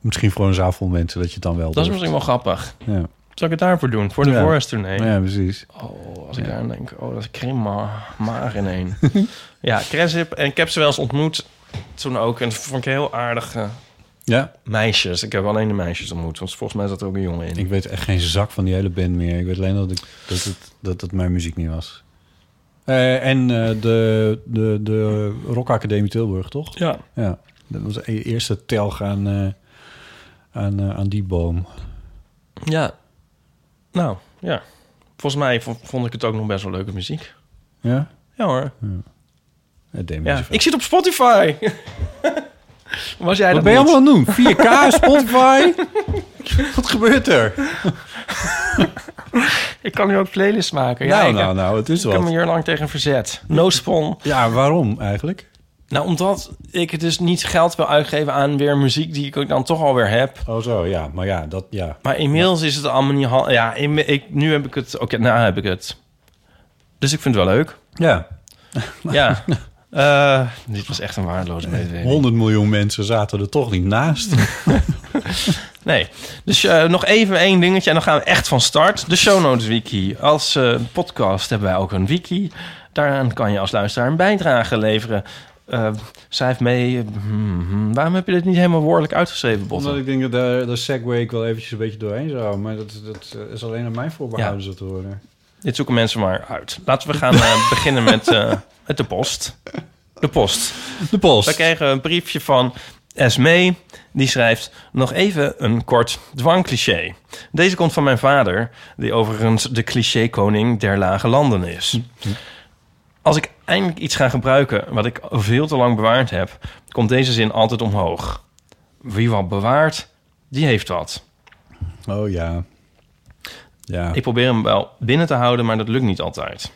S1: Misschien voor een zaal vol mensen dat je het dan wel
S2: Dat is
S1: durft.
S2: misschien wel grappig.
S1: Ja.
S2: Zal ik het daarvoor doen? Voor de
S1: Ja.
S2: Forest tournee.
S1: ja, precies.
S2: Oh, als ik daar aan denk, oh, dat krimp maar, maar in één. ja, Cresip. En ik heb ze wel eens ontmoet toen ook. En dat vond ik heel aardige
S1: Ja,
S2: meisjes. Ik heb alleen de meisjes ontmoet, want volgens mij zat er ook een jongen in.
S1: ik weet echt geen zak van die hele band meer. Ik weet alleen dat ik, dat, het, dat het mijn muziek niet was. Eh, en eh, de, de, de Rock Academie Tilburg, toch?
S2: Ja.
S1: Ja, dat was e eerste telg aan, eh, aan, eh, aan die boom.
S2: Ja. Nou, ja. Volgens mij vo- vond ik het ook nog best wel leuke muziek.
S1: Ja?
S2: Ja hoor.
S1: Het deed me niet
S2: Ja.
S1: zoveel.
S2: Ik zit op Spotify. Was jij
S1: Wat
S2: dat
S1: ben je
S2: niet?
S1: allemaal aan het doen? 4K, Spotify? Wat gebeurt er?
S2: Ik kan nu ook playlists maken. ja,
S1: nou,
S2: ik,
S1: nou, nou, het is
S2: ik heb me
S1: wat.
S2: hier lang tegen verzet. No spon.
S1: Ja, waarom eigenlijk?
S2: Nou, omdat ik het dus niet geld wil uitgeven aan weer muziek die ik dan toch alweer heb.
S1: Oh zo, ja. Maar ja, dat, ja.
S2: Maar inmiddels is het allemaal niet... hal- Ja, in- ik, nu heb ik het... Oké, nou heb ik het. Dus ik vind het wel leuk.
S1: Ja,
S2: Ja. Eh, dit was echt een waardeloze mededeling.
S1: 100 miljoen mensen zaten er toch niet naast.
S2: Nee. Dus eh, nog even één dingetje en dan gaan we echt van start. De Show Notes Wiki. Als eh, podcast hebben wij ook een wiki. Daaraan kan je als luisteraar een bijdrage leveren. Eh schrijf mee... hmm, hmm. waarom heb je dit niet helemaal woordelijk uitgeschreven, Botte?
S1: Omdat ik denk dat de, de segway ik wel eventjes een beetje doorheen zou. Maar dat, dat eh, is alleen aan mij voorbehouden, zo te horen.
S2: Dit zoeken mensen maar uit. Laten we gaan eh, beginnen met, eh, met de post. De post.
S1: De post.
S2: We kregen een briefje van Esme. Die schrijft nog even een kort dwangcliché. Deze komt van mijn vader, die overigens de cliché-koning der lage landen is.
S1: Hm,
S2: Als ik eindelijk iets ga gebruiken wat ik veel te lang bewaard heb, komt deze zin altijd omhoog. Wie wat bewaart, die heeft wat.
S1: Oh ja. Ja.
S2: Ik probeer hem wel binnen te houden, maar dat lukt niet altijd.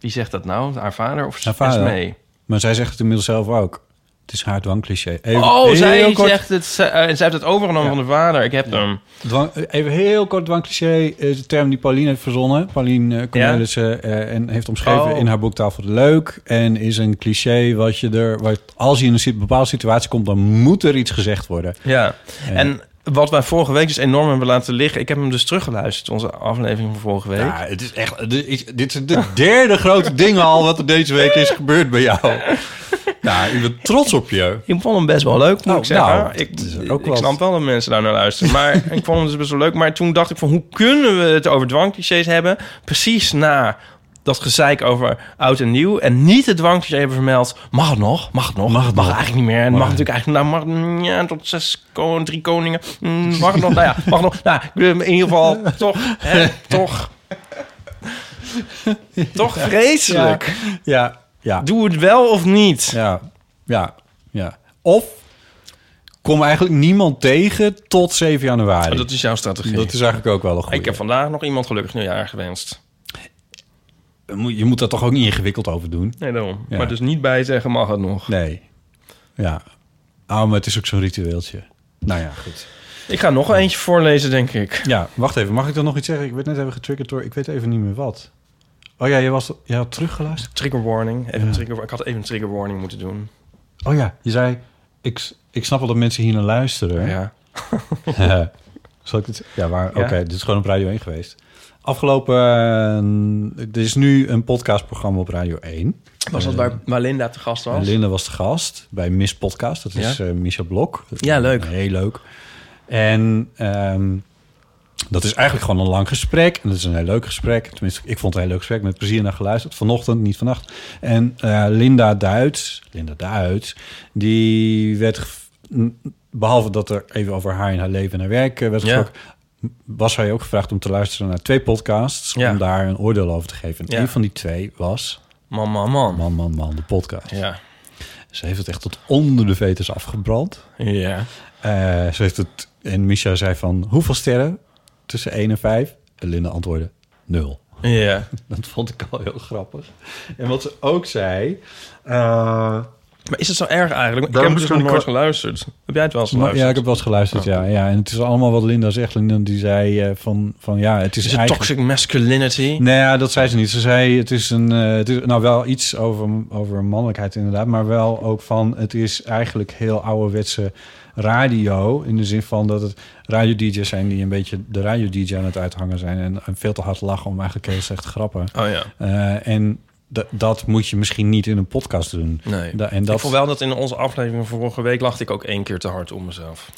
S2: Wie zegt dat nou? Haar vader of
S1: Haar vader.
S2: Esmee?
S1: Maar zij zegt het inmiddels zelf ook. Het is haar dwangcliché. Even,
S2: Oh,
S1: heel
S2: zij
S1: kort,
S2: zegt het. Zij, eh, zij heeft het overgenomen van de vader. Ik heb hem.
S1: dwang- even heel kort dwangcliché is de term die Pauline heeft verzonnen. Pauline eh, Cornelissen eh, en heeft omschreven
S2: Oh.
S1: in haar boek Tafel de Leuk. En is een cliché wat je er... Wat, als je in een si- bepaalde situatie komt, dan moet er iets gezegd worden.
S2: Ja. En wat wij vorige week dus enorm hebben laten liggen. Ik heb hem dus teruggeluisterd, onze aflevering van vorige week.
S1: Ja, het is echt. Dit is, dit is de derde grote ding al wat er deze week is gebeurd bij jou. Ja, ik ben trots op je.
S2: Ik vond hem best wel leuk, moet
S1: Oh,
S2: ik zeggen.
S1: nou,
S2: ik,
S1: dat is ook
S2: ik
S1: wat.
S2: snap wel dat mensen daar naar luisteren. Maar ik vond hem dus best wel leuk. Maar toen dacht ik van, hoe kunnen we het over dwangclichés hebben? Precies na dat gezeik over oud en nieuw. En niet het dwangcliché hebben vermeld. Mag het nog? Mag het nog? Mag, eigenlijk niet meer. En mag, natuurlijk eigenlijk... Nou, mag mm, ja, tot zes, kon- drie koningen. Mm, mag het nog? Nou ja, mag het nog? Nou, ik wil hem in ieder geval toch, hè, toch... toch vreselijk.
S1: Ja, ja,
S2: Doe het wel of niet?
S1: ja, ja, ja. Of kom eigenlijk niemand tegen tot 7 januari.
S2: Oh, Dat is jouw strategie.
S1: Dat is eigenlijk ook wel een goede.
S2: Ik heb vandaag nog iemand gelukkig nieuwjaar gewenst.
S1: Je moet daar toch ook niet ingewikkeld over doen?
S2: Nee, daarom.
S1: Ja.
S2: Maar dus niet bij zeggen mag het nog.
S1: Nee. Ja. Oh, maar het is ook zo'n ritueeltje. Nou ja, goed.
S2: Ik ga nog eentje voorlezen, denk ik.
S1: Ja, wacht even. Mag ik dan nog iets zeggen? Ik werd net even getriggerd door... Ik weet even niet meer wat. Oh ja, je, was, je had teruggeluisterd?
S2: Trigger warning. Even een trigger, ik had even een trigger warning moeten doen.
S1: Oh ja, je zei... Ik, ik snap wel dat mensen hier naar luisteren.
S2: Ja.
S1: Eh, Zal ik het? Ja, waar?
S2: Ja.
S1: Oké, dit is gewoon op Radio 1 geweest. Afgelopen... eh, er is nu een podcastprogramma op Radio 1.
S2: Was dat waar, waar Linda te gast was?
S1: Linda was de gast bij Miss Podcast. Dat is
S2: Ja.
S1: eh Micha Blok.
S2: Ja, leuk.
S1: Heel leuk. En ehm, dat is eigenlijk gewoon een lang gesprek. En dat is een heel leuk gesprek. Tenminste, ik vond het een heel leuk gesprek. Met plezier naar geluisterd. Vanochtend, niet vannacht. En eh, Linda Duits, Linda Duits, die werd... gev- n- Behalve dat er even over haar en haar leven en haar werk eh, werd
S2: Ja.
S1: gesproken... was hij ook gevraagd om te luisteren naar twee podcasts...
S2: Ja.
S1: om daar een oordeel over te geven. En
S2: Ja.
S1: een van die twee was...
S2: Man, man, man.
S1: Man, man, man, de podcast.
S2: Ja.
S1: Ze heeft het echt tot onder de veters afgebrand.
S2: Ja.
S1: Eh, ze heeft het, en Misha zei van, hoeveel sterren? Tussen 1 en 5. En Linda antwoordde, 0.
S2: Ja.
S1: Dat vond ik al heel grappig. En wat ze ook zei... eh,
S2: Maar is het zo erg eigenlijk? Ik
S1: Daarom
S2: heb dus
S1: is het
S2: nog nooit
S1: qua-
S2: geluisterd. Heb jij het wel eens
S1: maar- ja,
S2: geluisterd?
S1: ik heb wel eens geluisterd, ja, ja. En het is allemaal wat Linda zegt. Linda die zei eh, van, van, ja, het is,
S2: Is het
S1: eigenlijk...
S2: toxic masculinity?
S1: Nee, ja, dat zei ze niet. Ze zei, het is een, eh, het is, nou wel iets over, over mannelijkheid inderdaad, maar wel ook van, het is eigenlijk heel ouderwetse radio, in de zin van dat het radio-dj's zijn die een beetje de radio-dj aan het uithangen zijn en, en veel te hard lachen om eigenlijk heel slecht grappen.
S2: Oh ja.
S1: Eh, en d- dat moet je misschien niet in een podcast doen.
S2: Nee.
S1: Da- en
S2: Ik
S1: dat,
S2: vond wel dat in onze aflevering van vorige week lachte ik ook één keer te hard om mezelf.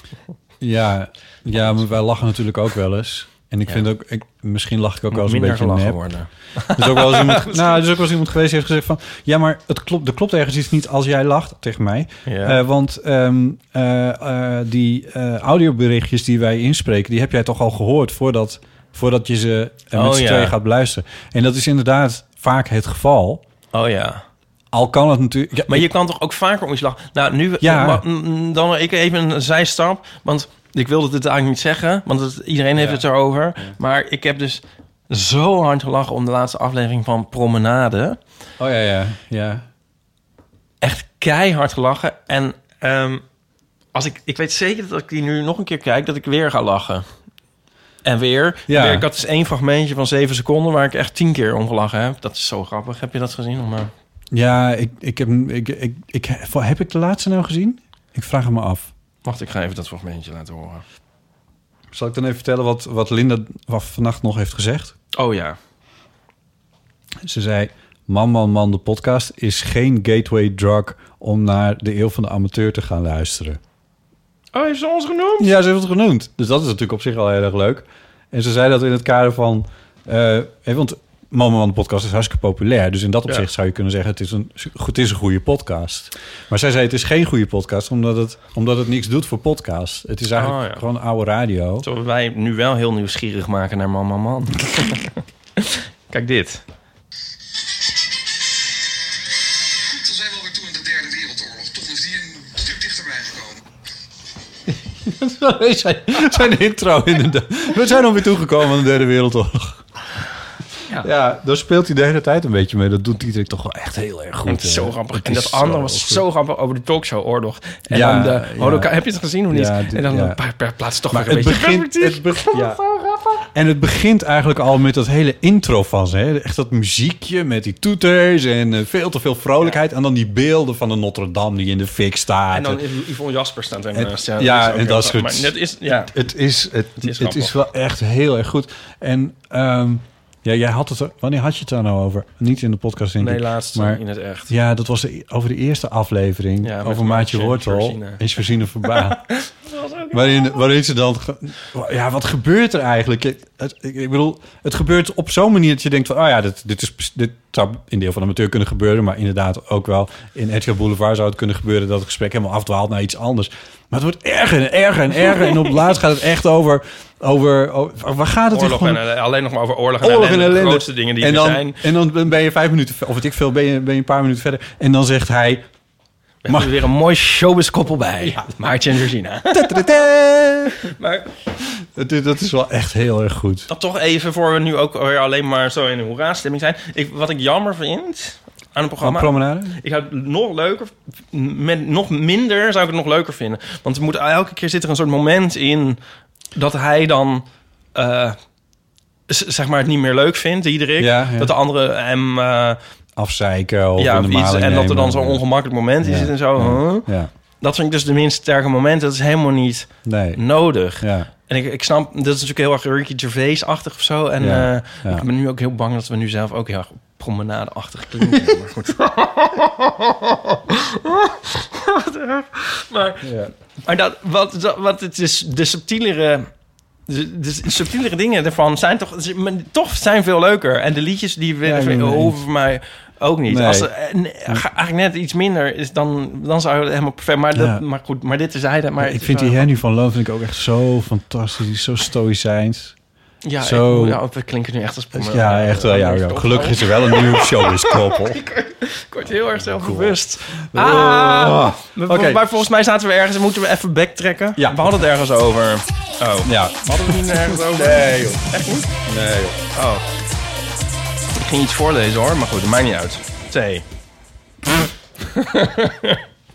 S1: ja, ja, maar wij lachen natuurlijk ook wel eens. En ik
S2: Ja.
S1: vind ook, ik, misschien lach ik ook wel eens een
S2: Minder
S1: beetje
S2: gelachen
S1: nep.
S2: worden.
S1: Er is ook wel eens iemand, nou, er is ook wel eens iemand geweest die heeft gezegd van... ja, maar het klopt, er klopt ergens iets niet als jij lacht tegen mij.
S2: Ja.
S1: Eh, want ehm, eh, eh, die eh, audioberichtjes die wij inspreken... die heb jij toch al gehoord voordat, voordat je ze eh, met
S2: Oh,
S1: z'n
S2: ja.
S1: tweeën gaat beluisteren. En dat is inderdaad vaak het geval.
S2: Oh ja.
S1: Al kan het natuurlijk... ja,
S2: Maar je kan toch ook vaker om iets lachen? Nou, nu...
S1: Ja.
S2: maar, mm, dan ik even een zijstap. Want ik wilde dit eigenlijk niet zeggen. Want het, iedereen heeft
S1: Ja.
S2: het erover. Maar ik heb dus zo hard gelachen om de laatste aflevering van Promenade.
S1: oh ja, ja, ja.
S2: Echt keihard gelachen. En ehm, als ik, ik weet zeker dat ik die nu nog een keer kijk... dat ik weer ga lachen. En weer.
S1: Ja.
S2: weer. Ik had dus één fragmentje van zeven seconden... waar ik echt tien keer om gelachen heb. Dat is zo grappig. Heb je dat gezien? Maar...
S1: Ja, ik, ik heb... Ik, ik, ik, heb ik de laatste nou gezien? Ik vraag het me af.
S2: Wacht, ik ga even dat fragmentje laten horen.
S1: Zal ik dan even vertellen wat, wat Linda wat vannacht nog heeft gezegd?
S2: Oh ja.
S1: Ze zei: Man, man, man, de podcast is geen gateway drug om naar de eeuw van de amateur te gaan luisteren.
S2: Oh, heeft ze ons genoemd?
S1: Ja, ze heeft het genoemd. Dus dat is natuurlijk op zich al heel erg leuk. En ze zei dat in het kader van. eh, hè, want Man, man, man, de podcast is hartstikke populair. Dus in dat opzicht zou je kunnen zeggen: het is, een, het is een goede podcast. Maar zij zei: het is geen goede podcast, omdat het, omdat het niks doet voor podcast. Het is eigenlijk
S2: Oh, ja.
S1: gewoon oude radio.
S2: Zullen we wij nu wel heel nieuwsgierig maken naar Mama Man? Kijk dit.
S3: Goed, dan zijn we alweer toe in de derde wereldoorlog. Toch is die een stuk dichterbij gekomen.
S1: zijn, zijn intro in de... We zijn alweer toegekomen aan de Derde Wereldoorlog.
S2: Ja.
S1: Ja. daar speelt hij de hele tijd een beetje mee. Dat doet Dietrich toch wel echt heel erg goed.
S2: Het is
S1: hè?
S2: zo grappig.
S1: Het
S2: En
S1: is
S2: dat andere was
S1: goed.
S2: zo grappig over de talkshow-oorlog. En
S1: Ja,
S2: dan de
S1: ja.
S2: holocaust. Heb je het gezien of niet?
S1: Ja, dit-
S2: en dan
S1: ja.
S2: een paar per plaats toch
S1: Maar
S2: weer een
S1: het
S2: beetje
S1: begint,
S2: perspectief.
S1: het be- ja. En het begint eigenlijk al met dat hele intro van ze. Hè? Echt dat muziekje met die toeters en eh, veel te veel vrolijkheid. En dan die beelden van de Notre Dame die in de fik staat.
S2: En dan is Yvonne Jasper staat ernaast.
S1: Het-
S2: is
S1: ja,
S2: ook
S1: en dat is
S2: heel
S1: goed.
S2: grappig. Maar dat is, ja.
S1: Het is, het,
S2: is
S1: het
S2: grappig.
S1: is wel echt heel erg goed. En ehm, Ja, jij had het er... Wanneer had je het daar nou over? Niet in de podcast, denk
S2: Nee,
S1: ik.
S2: laatst
S1: maar-
S2: in het echt.
S1: Ja, dat was de- e- over de eerste aflevering.
S2: Ja, met
S1: over Maatje
S2: Maatje en
S1: Wortel
S2: Georgina.
S1: is Verzine verbaan. waarin, waarin ze dan... ge- Ja, wat gebeurt er eigenlijk? Ik, het- ik- ik bedoel, het gebeurt op zo'n manier dat je denkt van... Oh ja, dit, dit, is, dit zou in deel van de amateur kunnen gebeuren. Maar inderdaad ook wel in Edgar Boulevard zou het kunnen gebeuren... dat het gesprek helemaal afdwaalt naar iets anders. Maar het wordt erger en erger en erger. en op het laatst gaat het echt over... over, over waar gaat het in
S2: Oorlog
S1: gewoon-
S2: en, eh, alleen nog maar over oorlog en
S1: oorlog en
S2: ellende.
S1: ellende.
S2: De grootste dingen die
S1: en
S2: er
S1: dan,
S2: zijn.
S1: En dan ben je vijf minuten, ver- of weet ik veel, ben je, ben je een paar minuten verder. En dan zegt hij...
S2: We hebben
S1: Mag-
S2: weer een mooi showbiz-koppel bij. Maartje en Georgina.
S1: "Tadadada."
S2: maar
S1: Dat, is- dat is wel echt heel erg goed.
S2: dat toch even voor we nu ook weer alleen maar zo in een hoera-stemming zijn. Ik, wat ik jammer vind aan het
S1: Van
S2: programma...
S1: promenade?
S2: ik zou het nog leuker... Met nog minder zou ik het nog leuker vinden. Want er moet, elke keer zit er een soort moment in... dat hij dan... eh, z- zeg maar het niet meer leuk vindt, Diederik.
S1: Ja, ja.
S2: Dat de andere hem... eh,
S1: Afzeiken of
S2: ja,
S1: in
S2: of
S1: de
S2: iets,
S1: maling
S2: en dat er
S1: nemen.
S2: dan zo'n ongemakkelijk moment is
S1: Ja,
S2: en zo. huh?
S1: Ja,
S2: Dat vind ik dus de minst sterke moment. Dat is helemaal niet
S1: nee.
S2: nodig.
S1: Ja,
S2: En ik, ik snap, dat is natuurlijk heel erg Ricky Gervais-achtig of zo. En
S1: Ja,
S2: eh,
S1: ja.
S2: ik ben nu ook heel bang dat we nu zelf ook heel erg promenade-achtig klinken. maar goed. Wat erg. maar
S1: ja.
S2: maar dat, wat, dat, wat het is, de subtielere... De, de subtielere dingen ervan zijn toch, ze- men- toch zijn veel leuker. En de liedjes die we,
S1: Ja, ik ben het
S2: hoeven voor mij ook niet.
S1: Nee.
S2: Als er, eh, nee, ga- eigenlijk net iets minder is, dan, dan zou het helemaal perfect... Maar, dat,
S1: Ja.
S2: maar goed, maar dit is hij. Maar
S1: Maar
S2: het
S1: ik
S2: is
S1: vind die
S2: wel-
S1: Henny van Loon vind ik ook echt zo fantastisch. Die is zo stoïcijns.
S2: Ja,
S1: Zo.
S2: ik- ja, we klinken nu echt als
S1: Dus
S2: promenade.
S1: ja, echt wel. Ja, ja. Gelukkig is er wel een nieuw showbiz-koppel.
S2: Ik word heel erg zelfbewust.
S1: Ah.
S2: Ah, we-
S1: Oké.
S2: Maar volgens mij zaten we ergens... Moeten we even backtracken?
S1: Ja.
S2: We hadden het ergens over. Oh.
S1: Ja.
S2: Hadden we het niet ergens over?
S1: Nee, joh.
S2: Echt niet?
S1: Nee, joh.
S2: Oh. Ik ging iets voorlezen hoor, maar goed, dat maakt niet uit. Thee.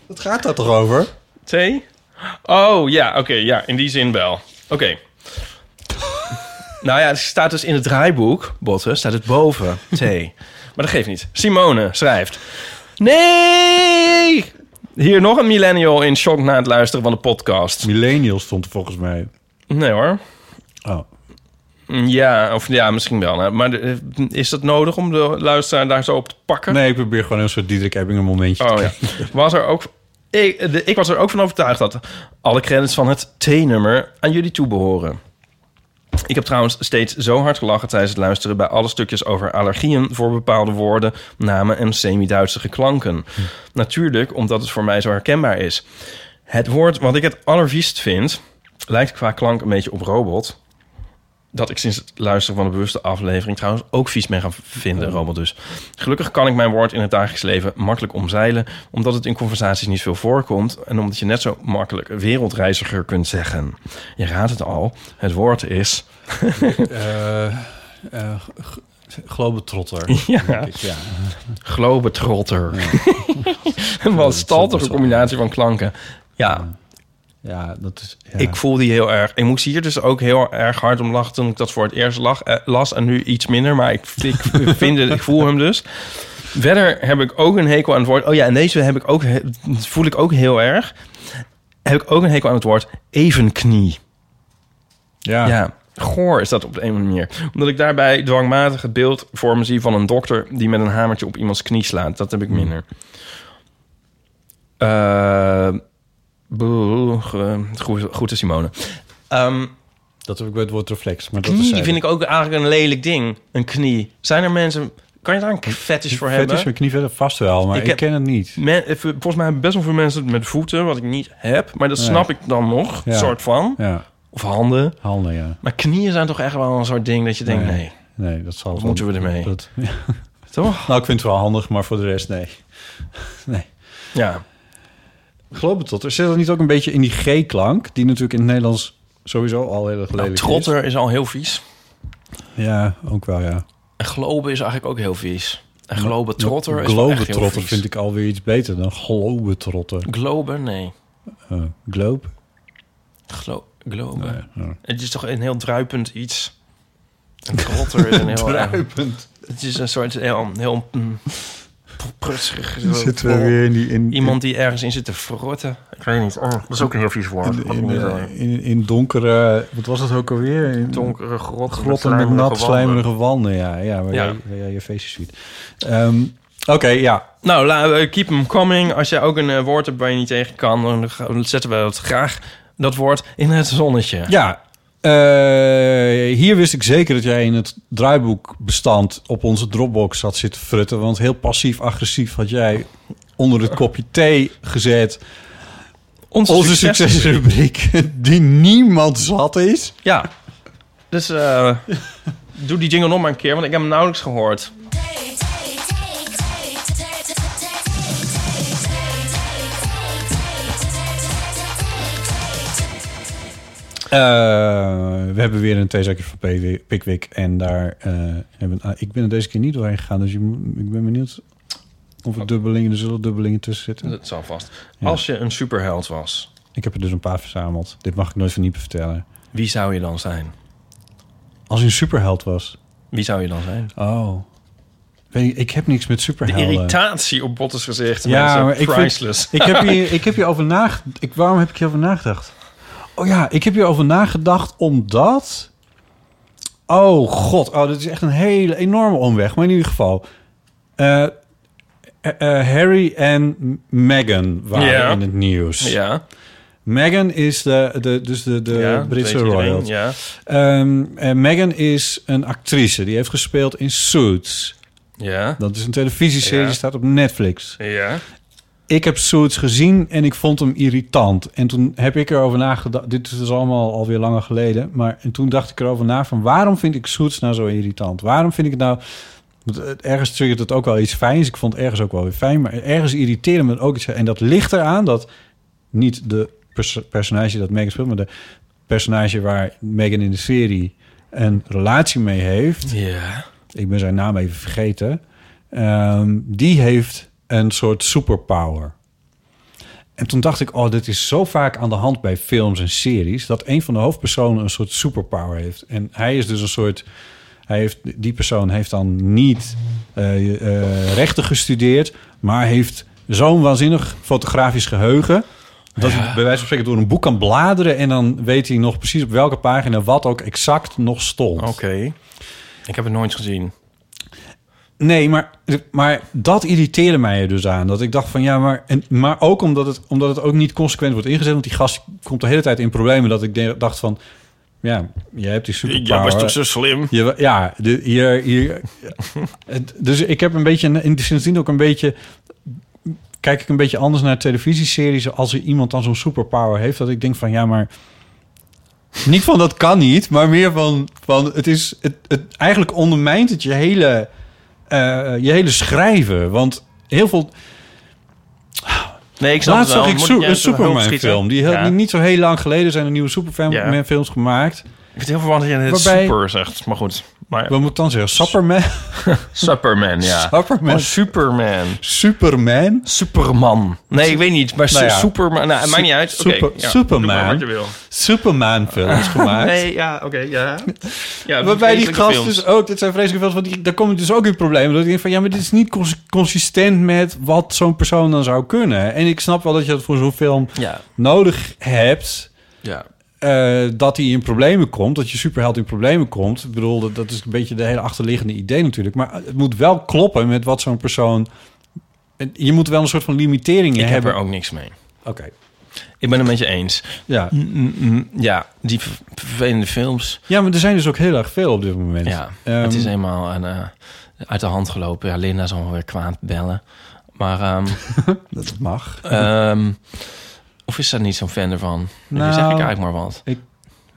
S1: Wat gaat dat toch over?
S2: Thee? Oh, ja, oké, ja, in die zin wel. Oké. nou ja, het staat dus in het draaiboek, botten, staat het boven thee. maar dat geeft niet. Simone schrijft... Nee! Hier nog een millennial in shock na het luisteren van de podcast.
S1: Millennial stond er volgens mij.
S2: Nee hoor.
S1: Oh.
S2: Ja, of ja, misschien wel. hè. Maar eh, is dat nodig om de luisteraar daar zo op te pakken?
S1: Nee, ik probeer gewoon een soort Diederik Ebbingen momentje te
S2: Oh ja. Was er ook. Ik, de- ik was er ook van overtuigd dat alle credits van het T-nummer aan jullie toebehoren. Ik heb trouwens steeds zo hard gelachen tijdens het luisteren bij alle stukjes over allergieën voor bepaalde woorden, namen en semi-Duitse klanken. Natuurlijk omdat het voor mij zo herkenbaar is. Het woord wat ik het allerviest vind, lijkt qua klank een beetje op robot. Dat ik sinds het luisteren van de bewuste aflevering trouwens ook vies ben gaan vinden, robot dus. Gelukkig kan ik mijn woord in het dagelijks leven makkelijk omzeilen, omdat het in conversaties niet veel voorkomt en omdat je net zo makkelijk wereldreiziger kunt zeggen. Je raadt het al, het woord is
S1: Eh, eh, g- Globetrotter.
S2: Ja.
S1: denk ik, ja.
S2: globetrotter. Wat staltige combinatie van klanken. Ja,
S1: Ja, dat is... Ja.
S2: ik voel die heel erg. Ik moest hier dus ook heel erg hard om lachen toen ik dat voor het eerst lag, eh, las en nu iets minder, maar ik, ik, vind het, ik voel hem dus. Verder heb ik ook een hekel aan het woord. Oh ja, en deze heb ik ook, he- voel ik ook heel erg. Heb ik ook een hekel aan het woord evenknie.
S1: Ja.
S2: Ja, goor is dat op de een of andere manier. Omdat ik daarbij dwangmatig het beeld voor me zie van een dokter die met een hamertje op iemands knie slaat. Dat
S1: Hmm.
S2: heb ik minder. Eh, boe, ge- goed, goed, Simone. Ehm,
S1: Dat heb ik bij het woord reflex. Maar dat is
S2: knie vind ik ook eigenlijk een lelijk ding. Een knie. Zijn er mensen. Kan je daar een fetish voor hebben?
S1: is mijn knie verder vast wel, maar
S2: Ik
S1: ik,
S2: heb-
S1: ken het niet.
S2: Men- eh, volgens mij hebben best wel veel mensen het met voeten, wat ik niet heb. Maar dat snap ik dan nog,
S1: Ja.
S2: soort van.
S1: Ja,
S2: Of handen.
S1: handen, ja.
S2: Maar knieën zijn toch echt wel een soort ding dat je denkt,
S1: Nee.
S2: nee.
S1: Nee, dat zal...
S2: Wat
S1: wel-
S2: moeten we ermee?
S1: Dat,
S2: Toch?
S1: Nou, ik vind het wel handig, maar voor de rest, nee. Nee.
S2: Ja.
S1: Geloof het tot. Er zit dat niet ook een beetje in die G-klank, die natuurlijk in het Nederlands sowieso al heel erg lelijk
S2: Nou, Trotter is. al heel vies.
S1: is? Ja, ook wel, ja.
S2: En globe is eigenlijk ook heel vies. En globe trotter is wel echt heel
S1: Globetrotter
S2: vies.
S1: vind ik alweer iets beter dan globetrotter.
S2: Globe, nee.
S1: Eh globe?
S2: Glo globe.
S1: Nee, ja.
S2: Het is toch een heel druipend iets. Een trotter is een heel...
S1: Druipend.
S2: Het is een soort heel... heel mm, pr-
S1: Zitten we weer in die... In,
S2: Iemand die ergens in zit te verrotten. Ik weet niet. Oh, dat is ook een heel vies woord.
S1: in, in, eh, in, in donkere... Wat was het ook alweer? In,
S2: Donkere grot.
S1: Grotten met nat slijmerige wanden, ja. ja, waar,
S2: Ja.
S1: Jij, waar jij je feestjes viert. Ehm, Oké, ja.
S2: Nou, la- eh, keep them coming. Als jij ook een eh, woord hebt waar je niet tegen kan... dan ga- dan zetten we dat graag, dat woord, in het zonnetje.
S1: Ja, eh, hier wist ik zeker dat jij in het draaiboekbestand op onze Dropbox had zitten frutten. Want heel passief-agressief had jij onder het kopje thee gezet.
S2: Onze,
S1: Onze
S2: succes.
S1: succesrubriek, die niemand zat is.
S2: Ja. Dus eh, doe die jingle nog maar een keer, want ik heb hem nauwelijks gehoord.
S1: Eh, we hebben weer een theezakje van Pi- Pickwick. En daar eh, hebben... ah, ik ben er deze keer niet doorheen gegaan. Dus je, moet- ik ben benieuwd of er dubbelingen... Er zullen dubbelingen tussen zitten.
S2: Dat zal vast. Als je een superheld was,
S1: Ik heb er dus een paar verzameld. Dit mag ik nooit van Niepen vertellen.
S2: wie zou je dan zijn?
S1: Als hij een superheld was.
S2: Wie zou je dan zijn?
S1: Oh. Weet ik, ik heb niks met
S2: De
S1: superhelden.
S2: irritatie op Bottes gezicht.
S1: eh. Ja, maar ik,
S2: priceless.
S1: vind- ik heb hier, ik heb hier over nagedacht. Ik, waarom heb ik hierover nagedacht? Oh ja, ik heb hierover nagedacht omdat... Oh god, oh, dit is echt een hele enorme omweg. Maar in ieder geval... eh, eh, eh, Harry en Meghan waren
S2: Ja.
S1: in het nieuws.
S2: Ja,
S1: Meghan is de, de, dus de, de
S2: ja, dat
S1: Britse
S2: weet iedereen,
S1: royal.
S2: Ja.
S1: Ehm, eh, Meghan is een actrice. Die heeft gespeeld in Suits.
S2: Ja.
S1: Dat is een televisieserie,
S2: Ja.
S1: die staat op Netflix.
S2: Ja.
S1: Ik heb Suits gezien en ik vond hem irritant. En toen heb ik erover nagedacht. Dit is dus allemaal alweer langer geleden. Maar en toen dacht ik erover na van waarom vind ik Suits nou zo irritant? Waarom vind ik het nou... want, eh, Ergens triggert het ook wel iets fijns. Ik vond het ergens ook wel weer fijn. Maar ergens irriteerde me het ook iets. En dat ligt eraan dat niet de pers- personage dat Megan speelt... maar de personage waar Megan in de serie een relatie mee heeft
S2: Ja.
S1: ik ben zijn naam even vergeten. ehm, die heeft een soort superpower. En toen dacht ik, oh, dit is zo vaak aan de hand bij films en series... dat een van de hoofdpersonen een soort superpower heeft. En hij is dus een soort... Hij heeft, die persoon heeft dan niet eh, eh, rechten gestudeerd... maar heeft zo'n waanzinnig fotografisch geheugen... dat hij bij wijze van spreken door een boek kan bladeren... en dan weet hij nog precies op welke pagina wat ook exact nog stond.
S2: Oké. Ik heb het nooit gezien.
S1: Nee, maar, maar dat irriteerde mij er dus aan. Dat ik dacht van ja, maar, en, maar ook omdat het, omdat het ook niet consequent wordt ingezet. Want die gast komt de hele tijd in problemen. Dat ik de- dacht van ja, jij hebt die
S2: Jij
S1: superpower.
S2: was toch zo slim?
S1: Je wa- ja, de, hier, hier, Het- dus ik heb een beetje, een- in sindsdien ook een beetje, kijk ik een beetje anders naar televisieseries. Als er iemand dan zo'n superpower heeft, dat ik denk van ja, maar niet van dat kan niet, maar meer van, van het is, het, het, eigenlijk ondermijnt het je hele, eh, je hele schrijven. Want heel veel,
S2: Nee, ik snap
S1: Laatst
S2: het
S1: zag
S2: wel.
S1: ik
S2: Moet
S1: Su-
S2: jij
S1: een
S2: eens op de hoogte schieten?
S1: Superman-film. Die heel-
S2: Ja.
S1: die niet zo heel lang geleden zijn er nieuwe Superman-films
S2: Ja.
S1: films gemaakt.
S2: Ik vind het heel verwarrend dat je het
S1: Waarbij-
S2: super zegt. Maar goed. Maar,
S1: Wat moet ik dan zeggen? Superman?
S2: Superman, ja.
S1: Superman.
S2: Oh, Superman.
S1: Superman?
S2: Superman. Nee, ik weet niet. Maar
S1: Nou ja.
S2: Superman. Nou, het maakt niet uit. Oké,
S1: Super-
S2: ja.
S1: Superman.
S2: Doe maar wat je wil.
S1: Superman-films gemaakt.
S2: Nee, ja, oké, ja. ja
S1: Waarbij die
S2: vreselijke
S1: gast
S2: films.
S1: dus ook, dit zijn vreselijke films, want die, daar kom ik dus ook in problemen. Dat ik denk van, ja, maar dit is niet cons- consistent met wat zo'n persoon dan zou kunnen. En ik snap wel dat je dat voor zo'n film
S2: Ja,
S1: nodig hebt,
S2: ja.
S1: eh, dat hij in problemen komt, dat je superheld in problemen komt. Ik bedoel, dat, dat is een beetje de hele achterliggende idee natuurlijk. Maar het moet wel kloppen met wat zo'n persoon... en Je moet wel een soort van limiteringen
S2: Ik heb
S1: hebben.
S2: er ook niks mee.
S1: Oké,
S2: Ik ben het met je eens.
S1: ja.
S2: Ja, die ver- vervelende films.
S1: Ja, maar er zijn dus ook heel erg veel op dit moment.
S2: Ja,
S1: Ehm,
S2: het is eenmaal een, eh, uit de hand gelopen. Ja, Linda zal wel weer kwaad bellen. Maar, ehm,
S1: Dat mag.
S2: ehm, of is daar niet zo'n fan ervan? Nu
S1: Nou,
S2: zeg ik eigenlijk maar wat.
S1: ik-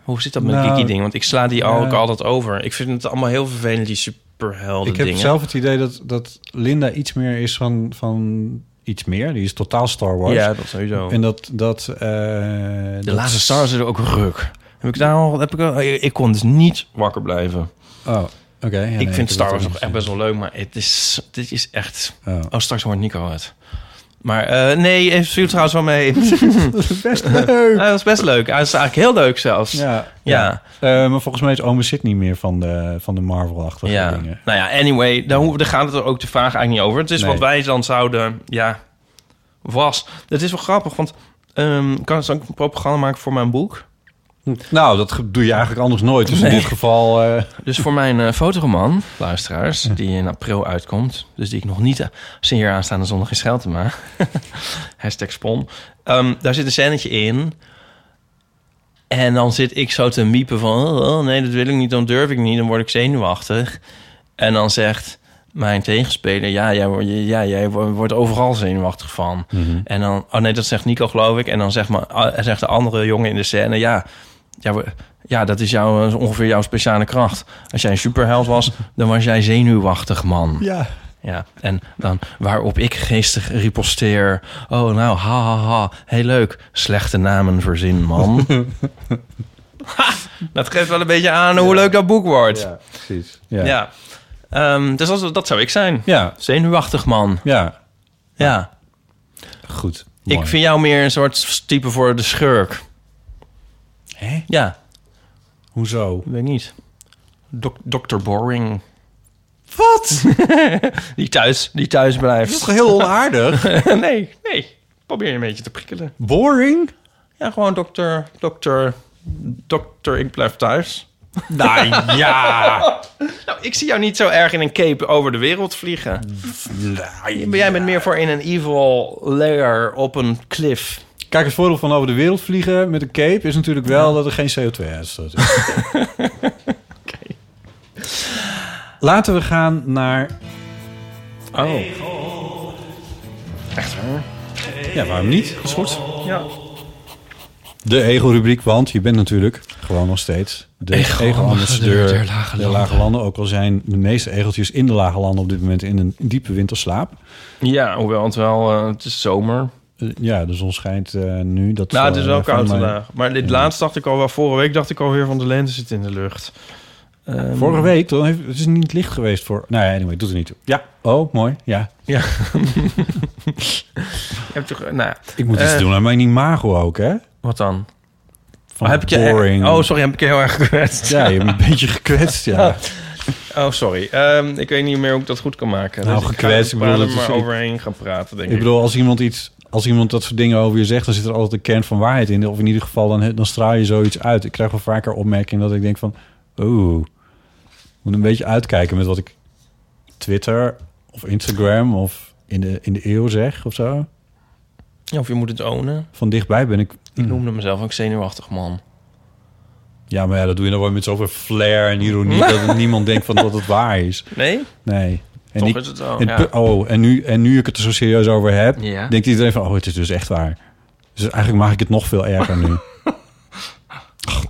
S2: Hoe zit dat met
S1: Nou,
S2: Kiki-ding? Want ik sla die ook
S1: ja.
S2: altijd over. Ik vind het allemaal heel vervelend, die superhelden
S1: Ik heb
S2: dingen.
S1: zelf het idee dat, dat Linda iets meer is van, van iets meer. Die is totaal Star Wars.
S2: Ja, dat sowieso.
S1: En dat... dat eh,
S2: De laatste Star is er ook ruk. Heb ik daar al, heb ik al- ik ik kon dus niet wakker blijven.
S1: Oh, oké. Ja, nee,
S2: ik vind
S1: heb
S2: Star
S1: dat
S2: Wars
S1: ook
S2: nog echt best wel leuk, maar het is, dit is echt...
S1: niet. Oh.
S2: Oh, straks hoort Nico het. Maar eh, nee, even viel trouwens wel mee.
S1: Best leuk.
S2: Hij was best leuk. Hij was eigenlijk heel leuk zelfs.
S1: Ja,
S2: Ja.
S1: Eh, maar volgens mij is Ome Sid niet meer van de, van de Marvel-achtige
S2: Ja.
S1: dingen.
S2: Nou ja, anyway, daar, hoe, daar gaat het er ook de vraag eigenlijk niet over. Het is
S1: Nee.
S2: wat wij dan zouden, ja, was. Het is wel grappig, want ehm, kan ik ook een programma maken voor mijn boek?
S1: Nou, dat ge- doe je eigenlijk anders nooit. Dus in dit geval... eh,
S2: Dus voor mijn eh, fotoroman, luisteraars, die in april uitkomt. Dus die ik nog niet eh, signeer aanstaande zondag in Scheltema. Hashtag spon. Ehm, daar zit een scènetje in. En dan zit ik zo te miepen van... Oh, oh, nee, dat wil ik niet, dan durf ik niet, dan word ik zenuwachtig. En dan zegt mijn tegenspeler... Ja, jij, wo- je- ja, jij wo- wordt overal zenuwachtig van. En dan... Oh nee, dat zegt Nico, geloof ik. En dan zegt, maar, ah, zegt de andere jongen in de scène... Ja, ja, we- ja dat is jouw, eh, ongeveer jouw speciale kracht. Als jij een superheld was, dan was jij zenuwachtig, man.
S1: ja.
S2: Ja, en dan waarop ik geestig riposteer. Oh, nou, ha, ha, ha. Heel leuk. Slechte namen verzin, man. Ha, dat geeft wel een beetje aan hoe leuk dat boek wordt. Ja.
S1: precies. Ja.
S2: Ehm, dus dat, dat zou ik zijn.
S1: Ja.
S2: Zenuwachtig, man.
S1: Ja.
S2: Ja.
S1: Goed.
S2: Ik
S1: Mooi.
S2: vind jou meer een soort type voor de schurk.
S1: Hè?
S2: Ja,
S1: Hoezo?
S2: weet ik niet. Dok- Dr. Boring.
S1: Wat?
S2: Die thuis, die thuis
S1: Dat is
S2: blijft.
S1: toch heel onaardig?
S2: nee, nee. Probeer je een beetje te prikkelen.
S1: Boring?
S2: Ja, gewoon dokter, dokter, dokter, ik blijf thuis.
S1: Nou ja.
S2: Nou, ik zie jou niet zo erg in een cape over de wereld vliegen. Maar jij bent meer voor in een evil layer op een cliff.
S1: Kijk, het voordeel van over de wereld vliegen met een cape is natuurlijk wel dat er geen CO2-uitstoot is. Laten we gaan naar...
S2: Oh. Echt waar?
S1: Ja, waarom niet?
S2: Is goed. Ja.
S1: De ego-rubriek, want je bent natuurlijk gewoon nog steeds de
S2: Ego-
S1: ego-ambassadeur
S2: der
S1: der
S2: lage
S1: lage, landen. Ook al zijn de meeste egeltjes in de lage landen op dit moment in een diepe winterslaap.
S2: Ja, hoewel het wel, eh, het is zomer.
S1: Eh, ja, de zon schijnt eh, nu. Dat
S2: Nou, het
S1: zal,
S2: is
S1: eh,
S2: wel
S1: van
S2: koud
S1: mijn-
S2: vandaag. Maar dit laatst dacht ik al wel, vorige week dacht ik alweer van de lente zit in de lucht. Ehm,
S1: Vorige week, dan heeft, het is niet licht geweest voor... Nou ja, anyway, doet er niet toe. Ja. Oh, mooi. Ja.
S2: Ja. heb je, nou, ja.
S1: Ik moet iets
S2: Eh.
S1: doen aan mijn imago ook, hè?
S2: wat dan?
S1: Van
S2: heb ik je
S1: boring.
S2: oh, sorry, heb ik je heel erg gekwetst.
S1: Ja, je hebt een beetje gekwetst, ja.
S2: Oh, sorry. Ehm, ik weet niet meer hoe ik dat goed kan maken. Dus
S1: Nou,
S2: ik
S1: gekwetst,
S2: ga
S1: ik bedoel,
S2: er
S1: dat
S2: maar
S1: is- ik-
S2: overheen gaan praten, denk ik.
S1: Ik bedoel, als iemand iets... Als iemand dat soort dingen over je zegt, dan zit er altijd een kern van waarheid in. Of in ieder geval, dan, dan straal je zoiets uit. Ik krijg wel vaker opmerkingen dat ik denk van... Oeh, moet een beetje uitkijken met wat ik Twitter of Instagram of in de, in de eeuw zeg of zo.
S2: Ja, of je moet het ownen.
S1: Van dichtbij ben ik...
S2: Ik noemde mezelf ook zenuwachtig man.
S1: Ja, maar ja, dat doe je dan wel met zoveel flair en ironie... dat niemand denkt van dat het waar is.
S2: Nee?
S1: Nee. En
S2: Toch
S1: ik-
S2: is het zo,
S1: en
S2: ja.
S1: pu- Oh, en nu, en nu ik het er zo serieus over heb,
S2: Ja.
S1: denkt iedereen van, oh, het is dus echt waar. Dus eigenlijk maak ik het nog veel erger nu.
S2: ik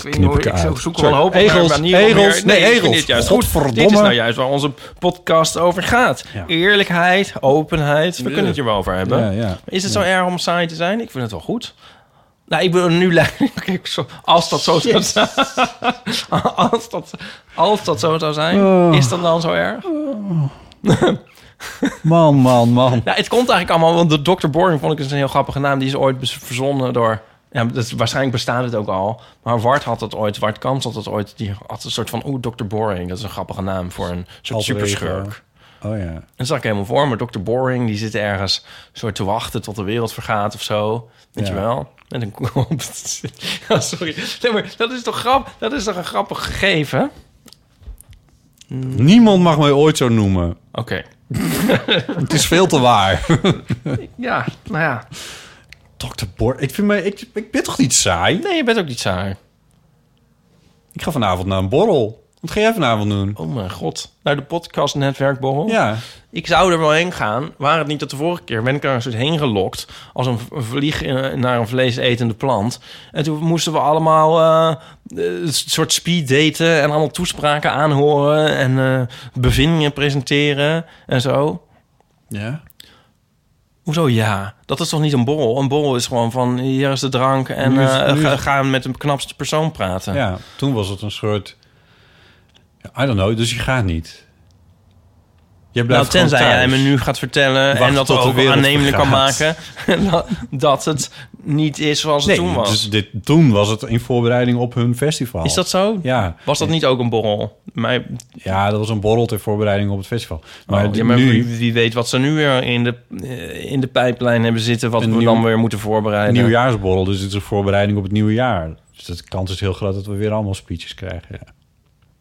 S2: weet
S1: knip
S2: hoor,
S1: ik eruit.
S2: zoek
S1: Sorry.
S2: wel hoop op naar
S1: Egels,
S2: een manier om
S1: egels,
S2: weer-
S1: nee,
S2: ik vind
S1: egels.
S2: Dit, juist goed. dit is
S1: Godverdomme.
S2: nou juist waar onze podcast over gaat.
S1: Ja.
S2: Eerlijkheid, openheid. We kunnen het hier wel over hebben.
S1: Ja, ja.
S2: Is het zo erg om saai te zijn? Ik vind het wel goed. Nou, ik bedoel, nu lijkt Kijk, zo- als dat zo zou zijn. als, dat, als dat zo zou zijn,
S1: Oh.
S2: is dat dan zo erg?
S1: Man, man, man.
S2: Nou, het komt eigenlijk allemaal, want de Dr. Boring vond ik dus een heel grappige naam. Die is ooit bes- verzonnen door. Ja, dat is, waarschijnlijk bestaat het ook al. Maar Wart had dat ooit, Wart Kams had dat ooit. Die had een soort van, oeh, Dr. Boring. Dat is een grappige naam voor een soort
S1: Alter ego.
S2: superschurk.
S1: Oh ja.
S2: En zag ik helemaal voor me. Dr. Boring, die zit ergens soort te wachten tot de wereld vergaat of zo. Weet
S1: Ja.
S2: je wel? En dan komt... Ja, sorry. Nee, maar dat is toch grap? Dat is toch een grappig gegeven?
S1: Niemand mag mij ooit zo noemen.
S2: Oké.
S1: Het is veel te waar.
S2: Ja, nou ja.
S1: Dr. Bor, ik, vind mij, ik, ik ben toch niet saai?
S2: Nee, je bent ook niet saai.
S1: Ik ga vanavond naar een borrel. Wat ga jij vanavond doen?
S2: Oh mijn god. Naar de podcast netwerkborrel?
S1: Ja.
S2: Ik zou er wel heen gaan, waar het niet dat de vorige keer ben ik er een soort heen gelokt als een v- een vlieg in- naar een vleesetende plant. En toen moesten we allemaal eh, eh, een soort speed daten en allemaal toespraken aanhoren en eh, bevindingen presenteren en zo.
S1: Ja.
S2: Hoezo ja? Dat is toch niet een borrel? Een borrel is gewoon van hier is de drank en
S1: Nu is-
S2: eh,
S1: nu is-
S2: ga, ga met de knapste persoon praten.
S1: Ja, toen was het een soort... I don't know, dus je gaat niet. Je
S2: Nou,
S1: blijft gewoon
S2: tenzij
S1: thuis.
S2: jij me nu gaat vertellen
S1: Wacht
S2: en dat
S1: tot de
S2: ook
S1: wereld
S2: aannemelijk kan maken
S1: vergaat.
S2: dat- dat het niet is zoals het
S1: nee,
S2: toen was.
S1: Dus dit, toen was het in voorbereiding op hun festival.
S2: Is dat zo?
S1: Ja.
S2: Was dat niet ook een borrel? Maar,
S1: Ja, dat was een borrel ter voorbereiding op het festival. Maar,
S2: oh,
S1: die-
S2: ja, maar wie,
S1: nu,
S2: wie weet wat ze nu weer in de, eh, in de pijplijn hebben zitten... wat
S1: Een
S2: we
S1: nieuw-
S2: dan weer moeten voorbereiden.
S1: nieuwjaarsborrel, dus het is een voorbereiding op het nieuwe jaar. Dus de kans is heel groot dat we weer allemaal speeches krijgen. Ja.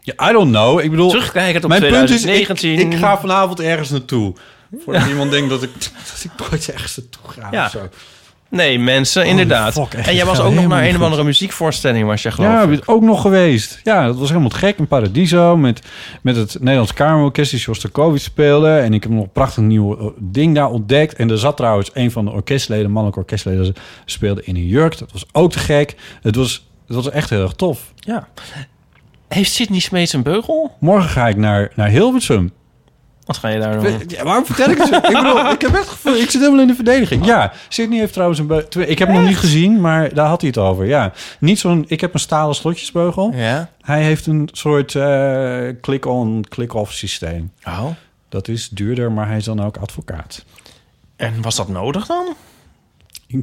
S1: Ja, I don't know. Ik bedoel,
S2: Terugkijkend op
S1: mijn punt is,
S2: 2019.
S1: ik, ik ga vanavond ergens naartoe. Voordat iemand denkt dat ik, dat ik nooit ergens naartoe ga
S2: Ja.
S1: of zo.
S2: Nee, mensen, inderdaad.
S1: Oh, fuck, echt,
S2: en jij
S1: het
S2: was
S1: gaat
S2: ook nog
S1: helemaal
S2: naar
S1: niet
S2: een of
S1: goed.
S2: andere muziekvoorstelling, was je geloof
S1: Ja,
S2: ik.
S1: ben ik ook nog geweest. Ja, dat was helemaal te gek. In Paradiso met, met het Nederlands Kamerorkest die Shostakovich speelde. En ik heb nog een prachtig nieuw eh, ding daar ontdekt. En er zat trouwens een van de orkestleden, mannelijke orkestleden, speelde in een jurk. Dat was ook te gek. Het was, het was echt heel erg tof.
S2: Ja. Heeft Sydney Smeets een beugel?
S1: Morgen ga ik naar, naar Hilversum.
S2: Wat ga je daar doen?
S1: Ja, waarom vertel ik het zo? ik, bedoel, ik heb echt het gevoel, ik zit helemaal in de verdediging. Ja, Sydney heeft trouwens een beugel. Ik heb hem nog niet gezien, maar daar had hij het over. Ja, niet zo'n, ik heb een stalen slotjesbeugel.
S2: Ja.
S1: Hij heeft een soort eh, click-on, click-off systeem.
S2: Oh.
S1: Dat is duurder, maar hij is dan ook advocaat.
S2: En was dat nodig dan?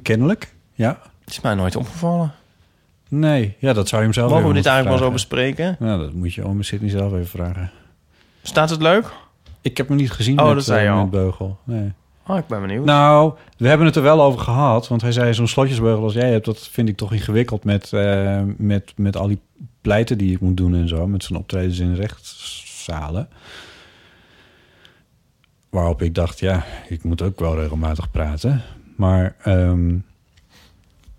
S1: Kennelijk, ja.
S2: Is mij nooit opgevallen.
S1: Nee, ja, dat zou je hem zelf
S2: Mogen we
S1: even
S2: dit eigenlijk wel zo
S1: moeten
S2: bespreken?
S1: vragen. Nou, dat moet je ome Sydney zelf even vragen.
S2: Staat het leuk?
S1: Ik heb hem niet gezien
S2: Oh,
S1: met,
S2: dat zei
S1: eh,
S2: je al.
S1: met Beugel. Nee.
S2: Oh, ik ben benieuwd.
S1: Nou, we hebben het er wel over gehad. Want hij zei, zo'n slotjesbeugel als jij hebt... dat vind ik toch ingewikkeld met, eh, met, met al die pleiten die ik moet doen en zo. Met zijn optredens in rechtszalen. Waarop ik dacht, ja, ik moet ook wel regelmatig praten. Maar, ehm,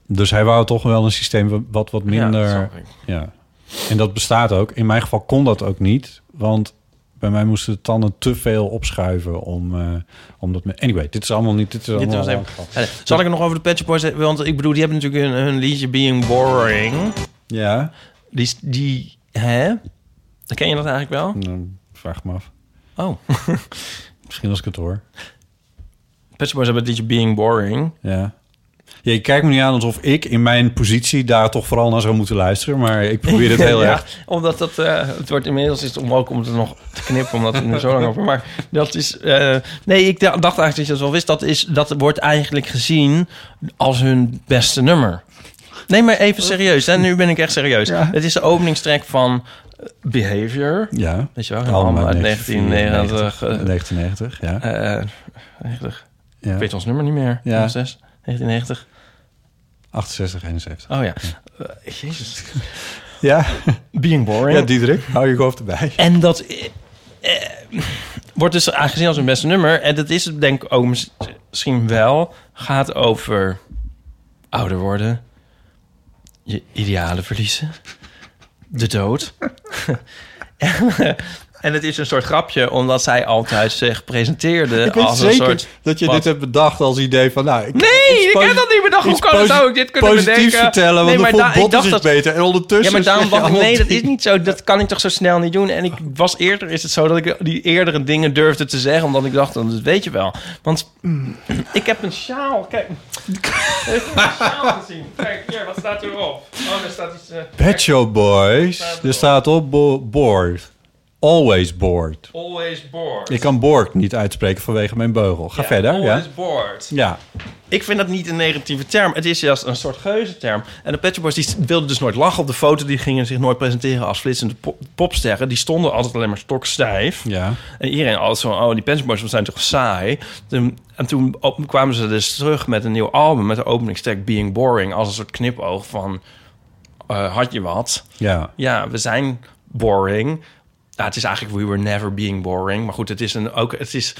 S1: dus hij wou toch wel een systeem wa- wat wat
S2: Ja,
S1: minder... Ja,
S2: dat snap ik.
S1: En dat bestaat ook. In mijn geval kon dat ook niet. Want bij mij moesten de tanden te veel opschuiven om... eh, omdat me, anyway, dit is allemaal niet... Dit, is
S2: Dit
S1: allemaal
S2: was even... Ja, Zal ik het nog over de Pet Shop Boys hebben? Want ik bedoel, die hebben natuurlijk hun, hun liedje Being Boring.
S1: Ja,
S2: Die, is- die... Hè? Ken je dat eigenlijk wel?
S1: nou, vraag me af.
S2: Oh.
S1: Misschien als ik het hoor.
S2: Pet Shop Boys hebben het liedje Being Boring.
S1: Ja. ja je kijkt me niet aan alsof ik in mijn positie daar toch vooral naar zou moeten luisteren. Maar ik probeer het heel
S2: Ja,
S1: erg.
S2: Omdat dat... eh, het wordt inmiddels is het onmogelijk om het er nog te knippen, omdat we er zo lang over... Maar dat is... eh, nee, ik dacht eigenlijk dat je dat wel wist. Dat, is, dat wordt eigenlijk gezien als hun beste nummer. Nee, maar even serieus. En nu ben ik echt serieus. Het is de openingstrek van eh, Behavior.
S1: Ja.
S2: Weet je wel, helemaal uit 1990. eh,
S1: 1990, ja.
S2: eh, 90. Ik
S1: ja.
S2: weet ons nummer niet meer.
S1: Ja.
S2: 06, 1990.
S1: 68, 71.
S2: Oh ja. Eh, jezus.
S1: Ja,
S2: Being boring.
S1: ja Diederik, hou je hoofd erbij.
S2: En dat eh, eh, wordt dus aangezien als een beste nummer. En dat is het denk ik ook mis- misschien wel. Gaat over ouder worden. Je idealen verliezen. De dood. en het is een soort grapje, omdat zij altijd zich presenteerde
S1: Ik weet
S2: als een
S1: zeker
S2: soort...
S1: dat je
S2: wat-
S1: dit hebt bedacht als idee van... Nou, ik
S2: Nee, ik
S1: posi-
S2: heb dat niet bedacht. Hoe
S1: iets
S2: kan,
S1: posi-
S2: zou ik dit kunnen
S1: positief
S2: bedenken?
S1: vertellen, want
S2: Nee,
S1: dan
S2: maar
S1: voelt
S2: da- ik
S1: Bottes
S2: dacht
S1: het
S2: dat-
S1: beter. En
S2: Ja,
S1: ondertussen...
S2: maar daarom
S1: zeg je
S2: dacht ik,
S1: allemaal
S2: nee, dat is
S1: dingen.
S2: niet zo. Dat kan ik toch zo snel niet doen. En ik was eerder, is het zo dat ik die eerdere dingen durfde te zeggen, omdat ik dacht, dat weet je wel. Want mm, ik heb een sjaal. Kijk, ik heb een sjaal gezien. Kijk, hier, wat staat erop? Oh, daar staat iets. eh,
S1: Pet Shop Boys. Er staat op bo- board. Always bored.
S2: always bored.
S1: Ik kan bored niet uitspreken vanwege mijn beugel. Ga verder, ja.
S2: Always bored.
S1: Ja.
S2: Ik vind dat niet een negatieve term. Het is juist een soort geuzenterm. En de Pet Shop Boys die wilden dus nooit lachen op de foto. Die gingen zich nooit presenteren als flitsende pop- popsterren. Die stonden altijd alleen maar stokstijf.
S1: Ja.
S2: En iedereen altijd zo, oh, die Pet Shop Boys zijn toch saai. Toen- en toen op- kwamen ze dus terug met een nieuw album... met de openingstek Being Boring... als een soort knipoog van... eh, had je wat?
S1: Ja.
S2: Ja, we zijn boring. Ja, het is eigenlijk We Were Never Being Boring. Maar goed, het is een, ook... Het is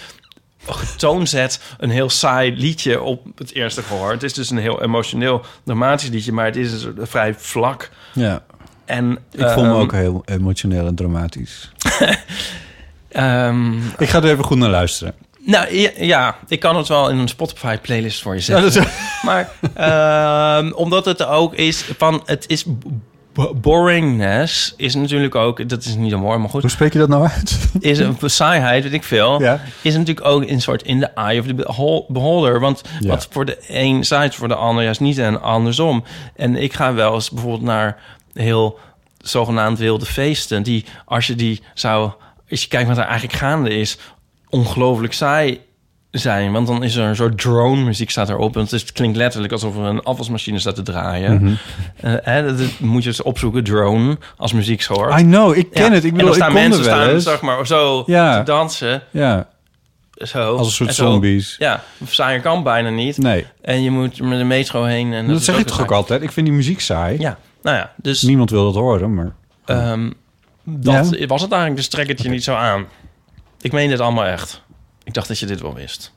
S2: getoonzet een heel saai liedje op het eerste gehoor. Het is dus een heel emotioneel, dramatisch liedje... maar het is een soort- vrij vlak.
S1: ja.
S2: En,
S1: Ik voel me ook heel emotioneel en dramatisch.
S2: ehm,
S1: Ik ga er even goed naar luisteren.
S2: Nou ja, ja, ik kan het wel in een Spotify playlist voor je zetten. Maar ehm, omdat het ook is van het is b- boringness is natuurlijk ook dat is niet een woord, maar goed
S1: Hoe spreek je dat nou uit?
S2: is een saaiheid, weet ik veel.
S1: Ja.
S2: Is natuurlijk ook een soort in the eye of the behol- beholder. Want
S1: Ja.
S2: wat voor de een saai is voor de ander juist niet en andersom. En ik ga wel eens bijvoorbeeld naar heel zogenaamd wilde feesten. Die als je die zou, als je kijkt wat er eigenlijk gaande is ongelooflijk saai zijn. Want dan is er een soort drone-muziek staat erop. En het, is- het klinkt letterlijk alsof er een afwasmachine staat te draaien.
S1: Mhm.
S2: Eh, hè, dat, dat moet je eens opzoeken, drone, als muzieksoort.
S1: I know, ik ken
S2: Ja.
S1: het. Ik
S2: en
S1: bedoel,
S2: dan
S1: ik
S2: staan
S1: kon er
S2: mensen
S1: wel
S2: staan,
S1: eens.
S2: zeg maar, zo
S1: Ja.
S2: te dansen.
S1: Ja,
S2: Zo.
S1: als een soort
S2: En zo-
S1: zombies.
S2: Ja, saaier kan bijna niet.
S1: Nee,
S2: En je moet met de metro heen. En
S1: dat, zeg ik
S2: weer
S1: toch ook
S2: saai.
S1: altijd. Ik vind die muziek saai.
S2: Ja, nou ja, dus
S1: Niemand wil dat horen, maar...
S2: ehm, dat was het eigenlijk. Dus trek het je niet zo aan. Ik meen dit allemaal echt. Ik dacht dat je dit wel wist.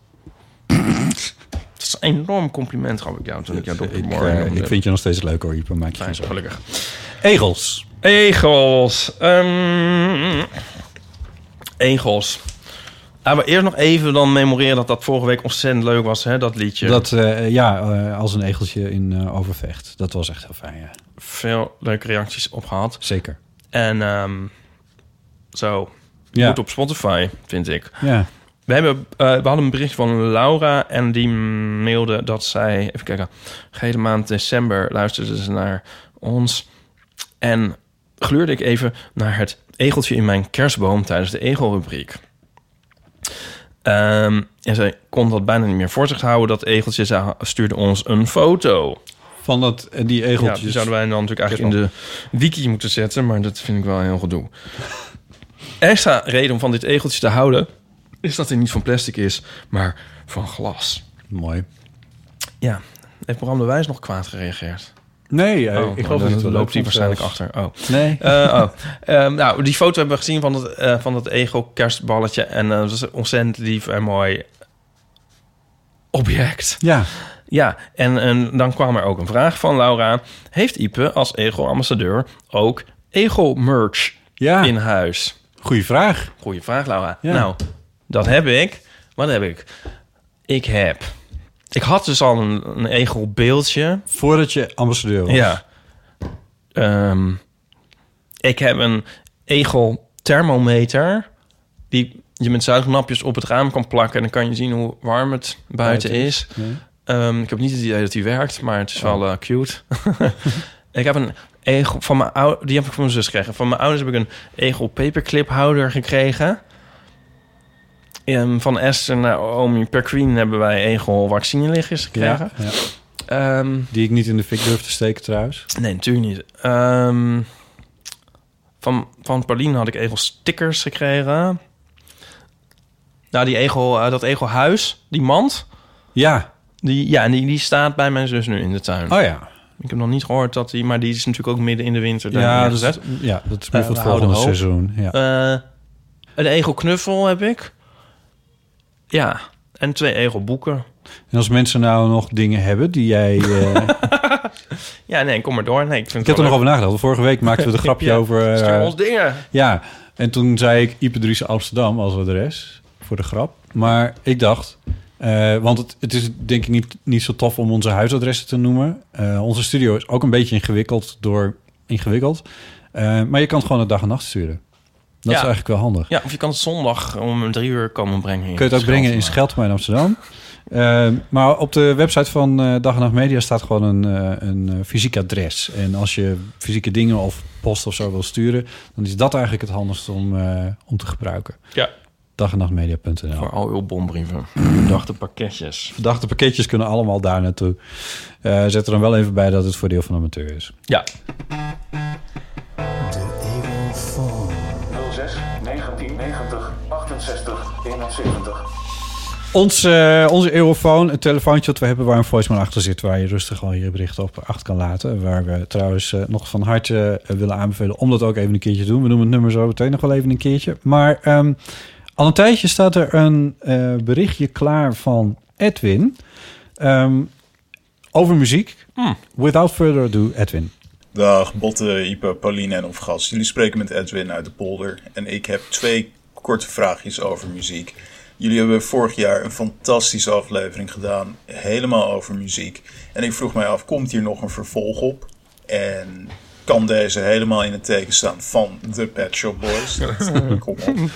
S2: Het is een enorm compliment gaf ik jou toen ik jou
S1: Ik,
S2: doormorgen
S1: eh, ik vind je nog steeds leuk hoor, Ieper. Maak je geen
S2: Fijn,
S1: zorgen.
S2: gelukkig.
S1: Egels.
S2: Egels. Ehm egels. Laten we eerst nog even dan memoreren dat dat vorige week ontzettend leuk was, hè, dat liedje.
S1: Dat, eh, ja, eh, als een egeltje in eh, Overvecht. Dat was echt heel fijn, ja.
S2: Veel leuke reacties op gehad.
S1: Zeker.
S2: En ehm, zo,
S1: Ja.
S2: goed op Spotify, vind ik.
S1: Ja.
S2: We, hebben, eh, we hadden een bericht van Laura en die mailde dat zij... Even kijken. Gehele maand december luisterde ze naar ons. En gluurde ik even naar het egeltje in mijn kerstboom tijdens de egelrubriek. Ehm, en zij kon dat bijna niet meer voor zich houden. Dat egeltje Zij stuurde ons een foto.
S1: Van dat, eh, die
S2: Ja,
S1: egeltjes.
S2: die zouden wij dan natuurlijk eigenlijk in de wiki moeten zetten, maar dat vind ik wel een heel gedoe. Extra reden om van dit egeltje te houden is dat hij niet van plastic is, maar van glas.
S1: Mooi.
S2: Ja, heeft Bram de Wijs nog kwaad gereageerd?
S1: Nee, eh,
S2: Oh,
S1: ik geloof
S2: dan
S1: dat het wel
S2: loopt hij
S1: leuk
S2: waarschijnlijk
S1: vond zelfs.
S2: achter. Oh.
S1: Nee.
S2: Eh, oh. Ehm, nou, die foto hebben we gezien van dat, eh, van dat ego-kerstballetje. En eh, dat is een ontzettend lief en mooi object.
S1: ja.
S2: Ja, en, en dan kwam er ook een vraag van Laura. Heeft Ipe als Ego-ambassadeur ook Ego-merch
S1: Ja.
S2: in huis?
S1: Goeie vraag.
S2: Goeie vraag, Laura.
S1: Ah. Ja.
S2: Nou, dat heb ik. Wat heb ik? Ik heb... Ik had dus al een, een Ego-beeldje.
S1: Voordat je ambassadeur was.
S2: Ja. Ehm, ik heb een Ego-thermometer... die je met zuignapjes op het raam kan plakken... en dan kan je zien hoe warm het buiten is. Ehm, ik heb niet het idee dat die werkt, maar het is wel eh, cute. ik heb een egel van mijn ouders, die heb ik van mijn zus gekregen. Van mijn ouders heb ik een egel paperclip houder gekregen. Ehm, van Esther naar Omi per Queen hebben wij egel vaccinelichtjes gekregen.
S1: Ja, ja.
S2: Ehm,
S1: Die ik niet in de fik durf te steken trouwens.
S2: nee, natuurlijk niet. Ehm, van, van Pauline had ik egel stickers gekregen. Nou, die egel, eh, dat egelhuis, die mand,
S1: Ja.
S2: die, ja, en die, die staat bij mijn zus nu in de tuin.
S1: Oh ja.
S2: Ik heb nog niet gehoord dat die, maar die is natuurlijk ook midden in de winter. daar
S1: Ja, dus- dat
S2: neergezet.
S1: is, ja, dat is meer
S2: Eh,
S1: voor het
S2: we houden
S1: volgende
S2: hoop.
S1: seizoen. Ja.
S2: Eh, een egelknuffel heb ik. Ja, en twee egelboeken.
S1: En als mensen nou nog dingen hebben die jij... eh,
S2: Ja, nee, kom maar door. Nee, ik vind
S1: ik heb
S2: het
S1: er nog
S2: wel
S1: over nagedacht. want Vorige week maakten we het grapje
S2: Ja,
S1: over...
S2: leuk.
S1: eh,
S2: Stuur ons dingen.
S1: ja, en toen zei ik Ipedrice Amsterdam als adres. Voor de grap. Maar ik dacht... eh, want het, het is denk ik niet, niet zo tof om onze huisadressen te noemen. Eh, onze studio is ook een beetje ingewikkeld door... Ingewikkeld. Eh, maar je kan het gewoon een dag en nacht sturen.
S2: Ja.
S1: Dat is eigenlijk wel handig.
S2: Ja, of je kan het zondag om drie uur komen brengen. hier.
S1: Kun je het ook brengen in Scheltema in Amsterdam. Ehm, maar op de website van eh, Dag en Nacht Media staat gewoon een, eh, een eh, fysiek adres. En als je fysieke dingen of post of zo wil sturen... dan is dat eigenlijk het handigst om, eh, om te gebruiken.
S2: Ja,
S1: Dag en nachtmedia.nl.
S2: voor al uw bombrieven. Verdachte pakketjes.
S1: Verdachte pakketjes kunnen allemaal daar naartoe. Eh, zet er dan wel even bij dat het voor deel van amateur is.
S2: Ja,
S4: 06 1990 68 71.
S1: Ons, eh, onze Eurofoon, het telefoontje dat we hebben waar een voicemail achter zit... waar je rustig gewoon je bericht op achter kan laten. Waar we trouwens eh, nog van harte eh, willen aanbevelen om dat ook even een keertje te doen. We noemen het nummer zo meteen nog wel even een keertje. Maar ehm, al een tijdje staat er een eh, berichtje klaar van Edwin... ehm, over muziek. Without further ado, Edwin.
S5: Dag, Botte, Ipe, Pauline en Ofgas. Jullie spreken met Edwin uit de polder. En ik heb twee korte vraagjes over muziek. Jullie hebben vorig jaar een fantastische aflevering gedaan, helemaal over muziek. En ik vroeg mij af, komt hier nog een vervolg op? En kan deze helemaal in het teken staan van The Pet Shop Boys? Dat- Kom op. En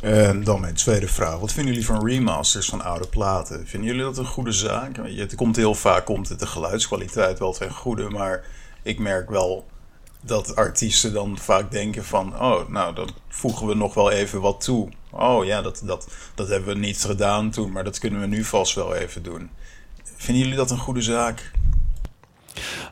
S5: Eh, dan mijn tweede vraag. Wat vinden jullie van remasters van oude platen? Vinden jullie dat een goede zaak? Het komt heel vaak komt het de geluidskwaliteit wel ten goede, maar ik merk wel dat artiesten dan vaak denken van... oh, nou, dat voegen we nog wel even wat toe. Oh ja, dat, dat, dat hebben we niet gedaan toen... maar dat kunnen we nu vast wel even doen. Vinden jullie dat een goede zaak?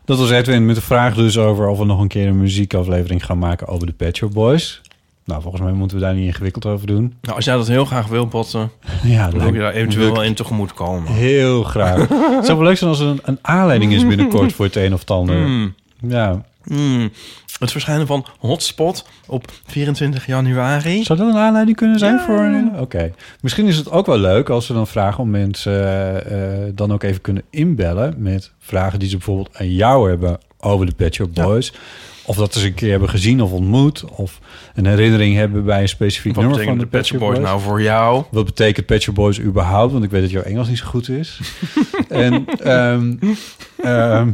S1: Dat was Edwin met de vraag dus over of we nog een keer een muziekaflevering gaan maken over de Pet Shop Boys. Nou, volgens mij moeten we daar niet ingewikkeld over doen.
S2: Nou, als jij dat heel graag wil, Botten,
S1: Ja,
S2: dan wil je daar eventueel wel in tegemoet komen.
S1: Heel graag. het zou wel leuk zijn als er een, een aanleiding is binnenkort voor het een of het ander. Ja.
S2: Hmm. Het verschijnen van Hotspot op 24 januari.
S1: Zou dat een aanleiding kunnen zijn voor een... Oké. Misschien is het ook wel leuk als we dan vragen om mensen eh, eh, dan ook even kunnen inbellen met vragen die ze bijvoorbeeld aan jou hebben over de Pet Shop Boys. Of dat ze een keer hebben gezien of ontmoet. Of een herinnering hebben bij een specifiek
S2: Wat
S1: nummer
S2: betekent
S1: van
S2: de Pet Shop Boys
S1: nou?
S2: nou voor jou?
S1: Wat betekent Pet Shop Boys überhaupt? Want ik weet dat jouw Engels niet zo goed is. en ehm, ehm,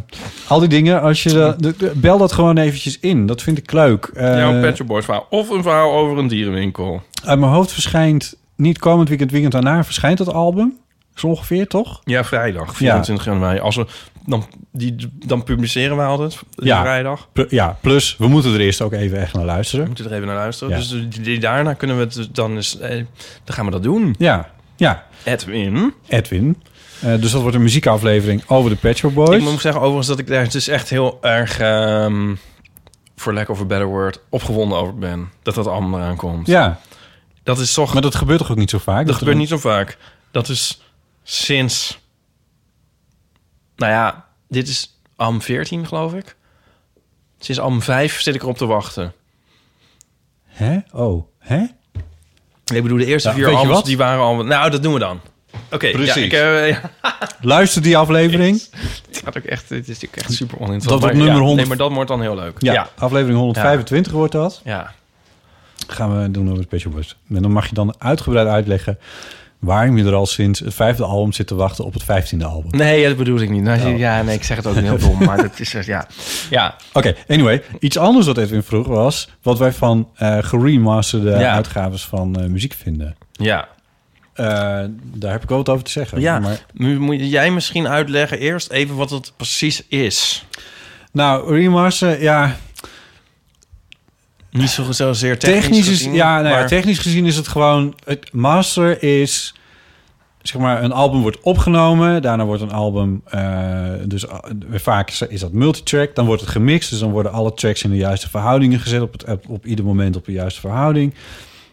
S1: al die dingen, als je dat- de- de- bel dat gewoon eventjes in. Dat vind ik leuk. Eh,
S2: Jouw Pet Shop Boys verhaal. Of een verhaal over een dierenwinkel.
S1: uit mijn hoofd verschijnt niet komend weekend, weekend daarna verschijnt dat album. Zo ongeveer, toch?
S2: Ja, vrijdag, 24 januari. Als we, dan, die, dan publiceren we altijd, die
S1: Ja.
S2: vrijdag.
S1: Pl- ja, plus we moeten er eerst ook even echt naar luisteren.
S2: We moeten er even naar luisteren.
S1: Ja.
S2: Dus die, die- daarna kunnen we het dan eens... eh, dan gaan we dat doen.
S1: Ja, ja,
S2: Edwin.
S1: Edwin. Eh, dus dat wordt een muziekaflevering over de Pet Shop Boys.
S2: Ik moet zeggen overigens dat ik daar dus echt heel erg... ehm, voor lack of a better word, opgewonden over ben. Dat dat allemaal eraan komt.
S1: Ja,
S2: Dat is toch...
S1: maar dat gebeurt toch ook niet zo vaak?
S2: dat
S1: er
S2: gebeurt
S1: een-
S2: niet zo vaak. Dat is sinds... Nou ja, dit is AM 14, geloof ik. Sinds AM 5 zit ik erop te wachten.
S1: Hè? Oh, hè?
S2: Ik bedoel, de eerste
S1: Ja,
S2: vier
S1: weet je
S2: albums,
S1: wat?
S2: die waren al... Nou, dat doen we dan. Oké, ja,
S1: Precies.
S2: ik, eh, ja,
S1: Luister die aflevering.
S2: Het gaat ook echt, het is natuurlijk echt super oninteressant.
S1: Dat
S2: Maar
S1: op nummer
S2: ja,
S1: 100.
S2: Nee, maar dat wordt dan heel leuk.
S1: Ja,
S2: Ja. ja.
S1: aflevering 125 wordt dat.
S2: ja.
S1: Gaan we doen over de Special Boys. En dan mag je dan uitgebreid uitleggen waarom je er al sinds het vijfde album zit te wachten op het vijftiende album.
S2: Nee, dat bedoel ik niet. Nou, Ja, nee, ik zeg het ook heel dom, maar dat is echt, ja. Ja,
S1: Oké, anyway. Iets anders wat Edwin vroeg was wat wij van eh geremasterde
S2: Ja.
S1: uitgaves van eh, muziek vinden.
S2: ja.
S1: Eh, daar heb ik wel wat over te zeggen.
S2: ja.
S1: Maar,
S2: Mo- Moet jij misschien uitleggen eerst even wat het precies is?
S1: nou, remaster, ja,
S2: Niet zo zozeer technisch,
S1: technisch, is,
S2: gezien,
S1: ja, nou ja,
S2: maar-
S1: technisch gezien is het gewoon... Het master is... Zeg maar, een album wordt opgenomen. Daarna wordt een album... eh, dus eh, vaak is, is dat multitrack. Dan wordt het gemixt. Dus dan worden alle tracks in de juiste verhoudingen gezet. Op, het, op, op ieder moment op de juiste verhouding.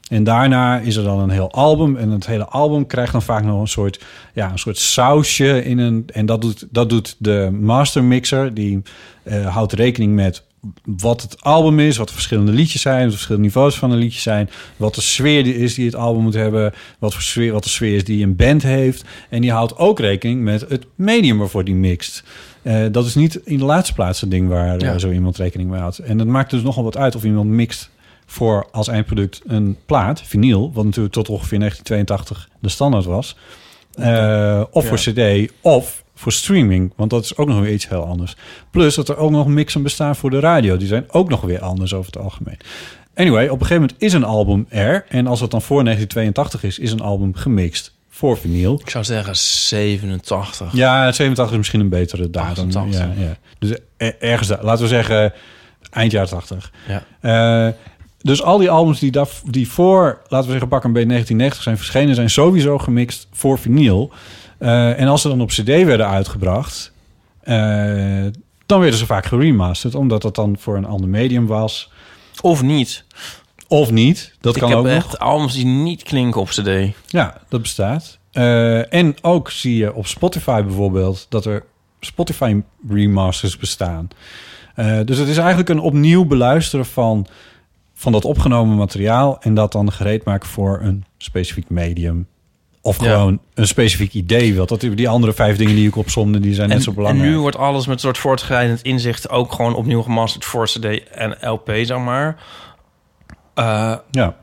S1: En daarna is er dan een heel album. En het hele album krijgt dan vaak nog een soort, ja, een soort sausje in een. En dat doet, dat doet de master mixer. Die eh, houdt rekening met wat het album is, wat de verschillende liedjes zijn, wat de verschillende niveaus van de liedjes zijn, wat de sfeer die is die het album moet hebben, wat, voor sfeer, wat de sfeer is die een band heeft. En die houdt ook rekening met het medium waarvoor die mixt. Eh, dat is niet in de laatste plaats een ding waar eh,
S2: Ja.
S1: zo iemand rekening mee houdt. En dat maakt dus nogal wat uit of iemand mixt voor als eindproduct een plaat, vinyl, wat natuurlijk tot ongeveer 1982 de standaard was. Eh, of voor CD of voor streaming, want dat is ook nog weer iets heel anders. Plus dat er ook nog mixen bestaan voor de radio, die zijn ook nog weer anders over het algemeen. Anyway, op een gegeven moment is een album er, en als het dan voor 1982 is, is een album gemixt voor vinyl.
S2: Ik zou zeggen 87.
S1: Ja, 87 is misschien een betere datum.
S2: 88.
S1: Ja, ja. Dus er- ergens, daar- laten we zeggen, eind jaren 80.
S2: Ja.
S1: Eh, dus al die albums die, daar, die voor, laten we zeggen, pak een beetje 1990 zijn verschenen, zijn sowieso gemixt voor vinyl. Eh, en als ze dan op CD werden uitgebracht, eh, dan werden ze vaak geremasterd, omdat dat dan voor een ander medium was.
S2: Of niet.
S1: Of niet, dat kan
S2: ik heb
S1: ook nog.
S2: echt albums die niet klinken op cd.
S1: Ja, dat bestaat. Eh, en ook zie je op Spotify bijvoorbeeld dat er Spotify remasters bestaan. Eh, dus het is eigenlijk een opnieuw beluisteren van, van dat opgenomen materiaal en dat dan gereed maken voor een specifiek medium. Of
S2: Ja.
S1: gewoon een specifiek idee. Want dat, die andere vijf dingen die ik opzomde, die zijn
S2: En,
S1: net zo belangrijk.
S2: en nu wordt alles met een soort voortschrijdend inzicht ook gewoon opnieuw gemasterd voor CD en LP, zeg maar. Eh,
S1: ja,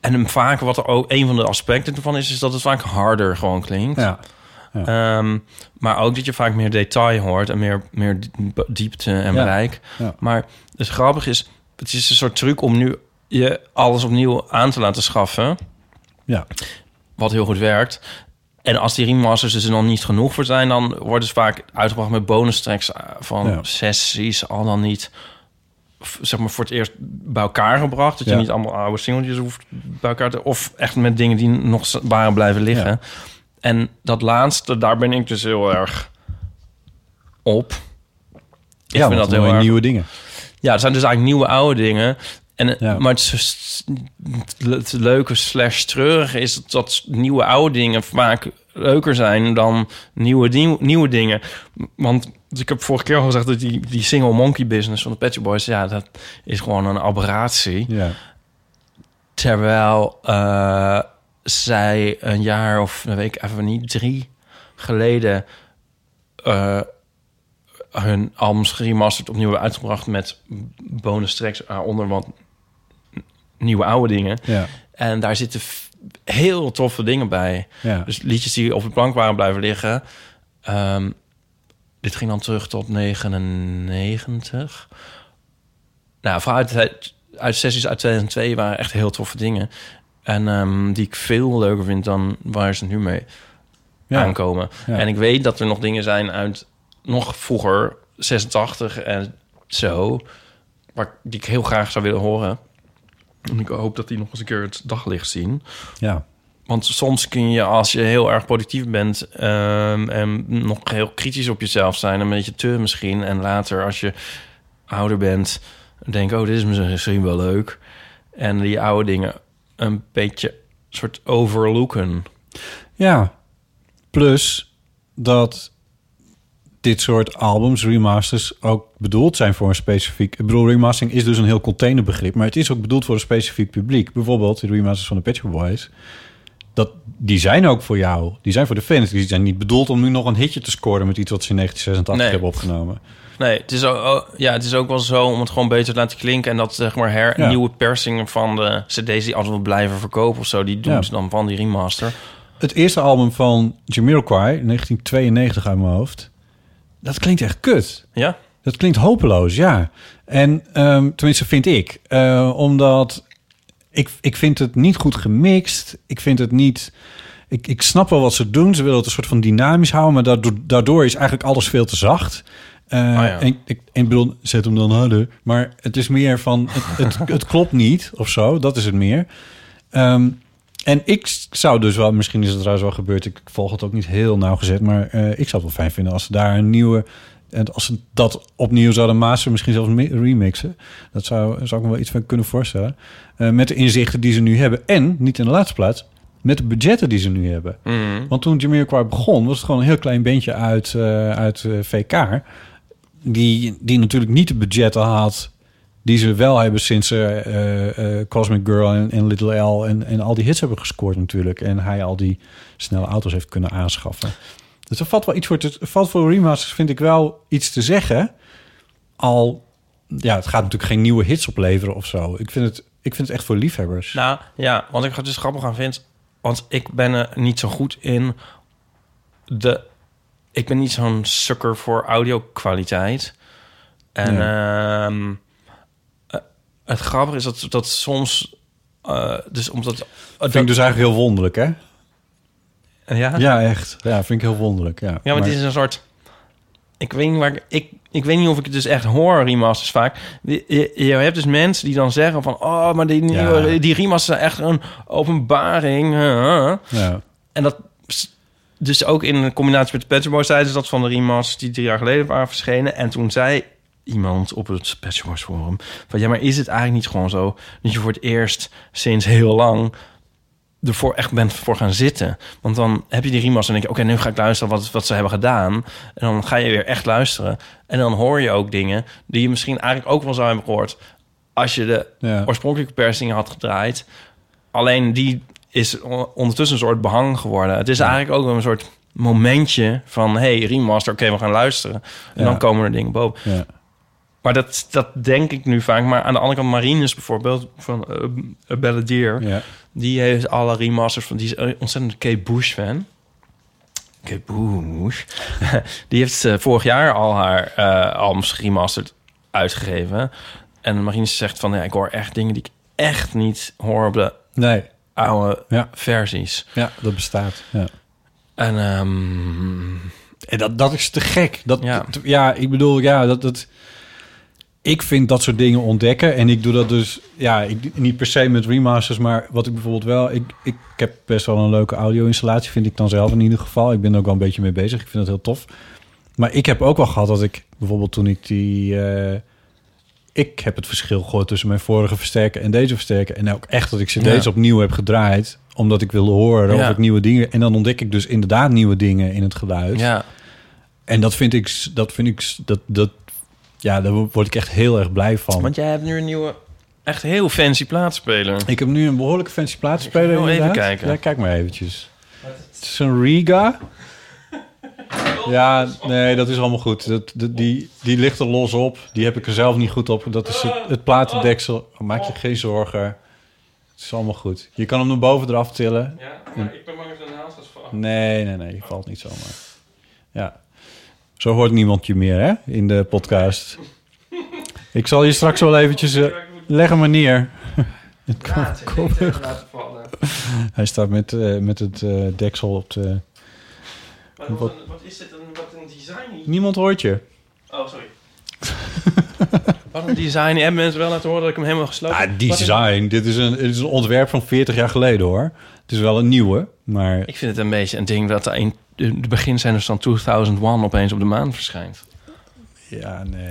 S2: en hem vaak wat er ook een van de aspecten ervan is, is dat het vaak harder gewoon klinkt.
S1: ja,
S2: Ehm, maar ook dat je vaak meer detail hoort en meer, meer diep- diepte en
S1: Ja,
S2: bereik.
S1: ja.
S2: Maar het grappige is, het is een soort truc om nu je alles opnieuw aan te laten schaffen,
S1: ja.
S2: wat heel goed werkt. En als die remasters dus er dan niet genoeg voor zijn, dan worden ze vaak uitgebracht met bonus tracks eh, van
S1: Ja.
S2: sessies, al dan niet f- zeg maar voor het eerst bij elkaar gebracht. Dat je
S1: Ja.
S2: niet allemaal oude singeltjes hoeft bij elkaar te... Of echt met dingen die nog z- waren blijven liggen.
S1: Ja.
S2: En dat laatste, daar ben ik dus heel erg op. Ik vind
S1: ja, want
S2: dat
S1: dan
S2: heel
S1: hoor je
S2: erg...
S1: nieuwe dingen.
S2: Ja, het zijn dus eigenlijk nieuwe oude dingen. En,
S1: Ja.
S2: Maar het, is- het leuke slash treurige is dat, dat nieuwe oude dingen vaak leuker zijn dan nieuwe, nieuw- nieuwe dingen. Want ik heb vorige keer al gezegd dat die, die single monkey business van de Pet Shop Boys... ja, dat is gewoon een aberratie.
S1: Ja.
S2: Terwijl eh, zij een jaar of een week, even niet, drie geleden eh, hun albums geremasterd opnieuw hebben uitgebracht met bonus tracks onder wat nieuwe oude dingen.
S1: Ja.
S2: En daar zitten f- heel toffe dingen bij.
S1: Ja.
S2: Dus liedjes die op de plank waren blijven liggen. Ehm, dit ging dan terug tot 99. Nou, vooral uit, uit sessies uit 2002 waren echt heel toffe dingen. En ehm, die ik veel leuker vind dan waar ze nu mee
S1: Ja.
S2: aankomen.
S1: Ja.
S2: En ik weet dat er nog dingen zijn uit nog vroeger, 86 en zo... Waar, ik- die ik heel graag zou willen horen. En ik hoop dat die nog eens een keer het daglicht zien.
S1: ja.
S2: Want soms kun je, als je heel erg productief bent ehm, en nog heel kritisch op jezelf zijn, een beetje te misschien. En later, als je ouder bent, denk oh, dit is misschien wel leuk. En die oude dingen een beetje soort overlooken.
S1: Ja. Plus dat dit soort albums, remasters, ook bedoeld zijn voor een specifiek... Ik bedoel, remastering is dus een heel containerbegrip... maar het is ook bedoeld voor een specifiek publiek. Bijvoorbeeld de remasters van de Pet Shop Boys. Dat, die zijn ook voor jou. Die zijn voor de fans. Die zijn niet bedoeld om nu nog een hitje te scoren... met iets wat ze in 1986
S2: Nee.
S1: hebben opgenomen.
S2: Nee, het is, ook, oh, ja, het is ook wel zo om het gewoon beter te laten klinken. En dat zeg maar her,
S1: Ja.
S2: nieuwe persingen van de CD's die altijd wel blijven verkopen of zo, die doen
S1: Ja.
S2: ze dan van die remaster.
S1: Het eerste album van Jamiroquai, 1992 uit mijn hoofd... dat klinkt echt kut.
S2: Ja?
S1: Dat klinkt hopeloos, ja. En ehm, tenminste vind ik. Eh, omdat ik, ik vind het niet goed gemixt. Ik vind het niet... Ik, ik snap wel wat ze doen. Ze willen het een soort van dynamisch houden. Maar daardoor, daardoor is eigenlijk alles veel te zacht. Eh,
S2: ja.
S1: en, ik, en ik bedoel, zet hem dan harder. Maar het is meer van... Het, het, het klopt niet of zo. Dat is het meer. Ehm, en ik s- zou dus wel, misschien is het trouwens wel gebeurd, ik volg het ook niet heel nauwgezet, maar eh, ik zou het wel fijn vinden als ze daar een nieuwe, en als ze dat opnieuw zouden masteren, misschien zelfs me- remixen. Dat zou, zou ik me wel iets van kunnen voorstellen. Eh, met de inzichten die ze nu hebben en, niet in de laatste plaats, met de budgetten die ze nu hebben. Want toen Jamiroquai begon, was het gewoon een heel klein bandje uit, eh, uit eh, VK, die, die natuurlijk niet de budgetten had die ze wel hebben sinds ze eh, eh, Cosmic Girl en, en Little L en, en al die hits hebben gescoord natuurlijk. En hij al die snelle auto's heeft kunnen aanschaffen. Dus er valt wel iets voor, te, er valt voor remasters vind ik wel iets te zeggen. Al, ja, het gaat natuurlijk geen nieuwe hits opleveren of zo. Ik vind het, ik vind het echt voor liefhebbers.
S2: Nou ja, want ik ga dus grappig aan vind. Want ik ben er niet zo goed in de. Ik ben niet zo'n sukker voor audio-kwaliteit. En ehm, eh, het grappige is dat, dat soms. eh, dus omdat.
S1: dat vind ik dus eigenlijk heel wonderlijk, hè?
S2: eh, ja? ja,
S1: Ja, echt. Ja, vind ik heel wonderlijk, ja.
S2: maar, het is een soort. Ik weet, niet waar ik, ik, ik weet niet of ik het dus echt hoor, remasters vaak. Je, je- je hebt dus mensen die dan zeggen van... Oh, maar die,
S1: Ja.
S2: nieuwe, die remasters zijn echt een openbaring. huh?"
S1: Ja.
S2: En dat dus ook in combinatie met de Pet Shop Boys zeiden ze dat van de remasters die drie jaar geleden waren verschenen. En toen zei iemand op het Pet Shop Boys forum van ja, maar is het eigenlijk niet gewoon zo dat je voor het eerst sinds heel lang ervoor echt bent voor gaan zitten? Want dan heb je die remaster en denk je oké, nu ga ik luisteren wat, wat ze hebben gedaan. En dan ga je weer echt luisteren. En dan hoor je ook dingen die je misschien eigenlijk ook wel zou hebben gehoord als je de
S1: Ja.
S2: oorspronkelijke persingen had gedraaid. Alleen die is on- ondertussen een soort behang geworden. Het is eigenlijk ook wel een soort momentje van... hey, remaster, oké, we gaan luisteren. En
S1: Ja.
S2: dan komen er dingen boven.
S1: Ja.
S2: Maar dat, dat denk ik nu vaak. Maar aan de andere kant, Marines bijvoorbeeld van eh, eh, Belladier...
S1: Ja.
S2: die heeft alle remasters van... die is een ontzettend Kate Bush-fan. Kate Bush. die heeft eh, vorig jaar al haar eh albums geremasterd uitgegeven. En Marines zegt van... ja, ik hoor echt dingen die ik echt niet hoor op de
S1: Nee,
S2: oude
S1: Ja.
S2: versies.
S1: ja, dat bestaat. Ja.
S2: En ehm,
S1: En dat, dat is te gek. Dat,
S2: Ja.
S1: dat- ja. ik bedoel, ja, dat, dat, ik vind dat soort dingen ontdekken. En ik doe dat dus, ja, ik, niet per se met remasters, maar wat ik bijvoorbeeld wel... Ik, ik heb best wel een leuke audio-installatie, vind ik dan zelf in ieder geval. Ik ben er ook wel een beetje mee bezig. Ik vind dat heel tof. Maar ik heb ook wel gehad dat ik bijvoorbeeld toen ik die... eh, ik heb het verschil gehoord tussen mijn vorige versterker en deze versterker. En ook echt dat ik ze
S2: Ja.
S1: deze opnieuw heb gedraaid, omdat ik wilde horen
S2: Ja.
S1: of ik nieuwe dingen... En dan ontdek ik dus inderdaad nieuwe dingen in het geluid.
S2: Ja.
S1: En dat vind ik, s- dat vind ik, s- dat, dat, ja, daar wo- word ik echt heel erg blij van.
S2: Want jij hebt nu een nieuwe, echt heel fancy plaatspeler.
S1: Ik heb nu een behoorlijke fancy plaatspeler.
S2: Ik ga heel even
S1: inderdaad.
S2: kijken.
S1: Ja, kijk maar eventjes. Het is een Riga. Ja, nee, dat is allemaal goed. Dat, dat- die, die ligt er los op. Die heb ik er zelf niet goed op. Dat is het, het platendeksel. Maak je geen zorgen. Het is allemaal goed. Je kan hem naar boven eraf tillen.
S2: Ja, maar ik ben maar even een naast van.
S1: Nee, nee, nee. Je valt niet zomaar. Ja. Zo hoort niemand je meer, hè? In de podcast. Ik zal je straks wel eventjes... eh, leg hem maar neer. Het kan- kom- Hij staat met, eh, met het eh, deksel op de...
S2: Wat, wat is dit? Een, wat een design hier?
S1: Niemand hoort je.
S2: Oh, sorry. wat een design. Hebben mensen wel laten horen dat ik hem helemaal gesloten
S1: Ah,
S2: Wat is-
S1: design. Dit is, een, dit is een ontwerp van 40 jaar geleden, hoor. Het is wel een nieuwe, maar...
S2: Ik vind het een beetje een ding dat in de beginzenders van 2001 opeens op de maan verschijnt.
S1: Ja, nee.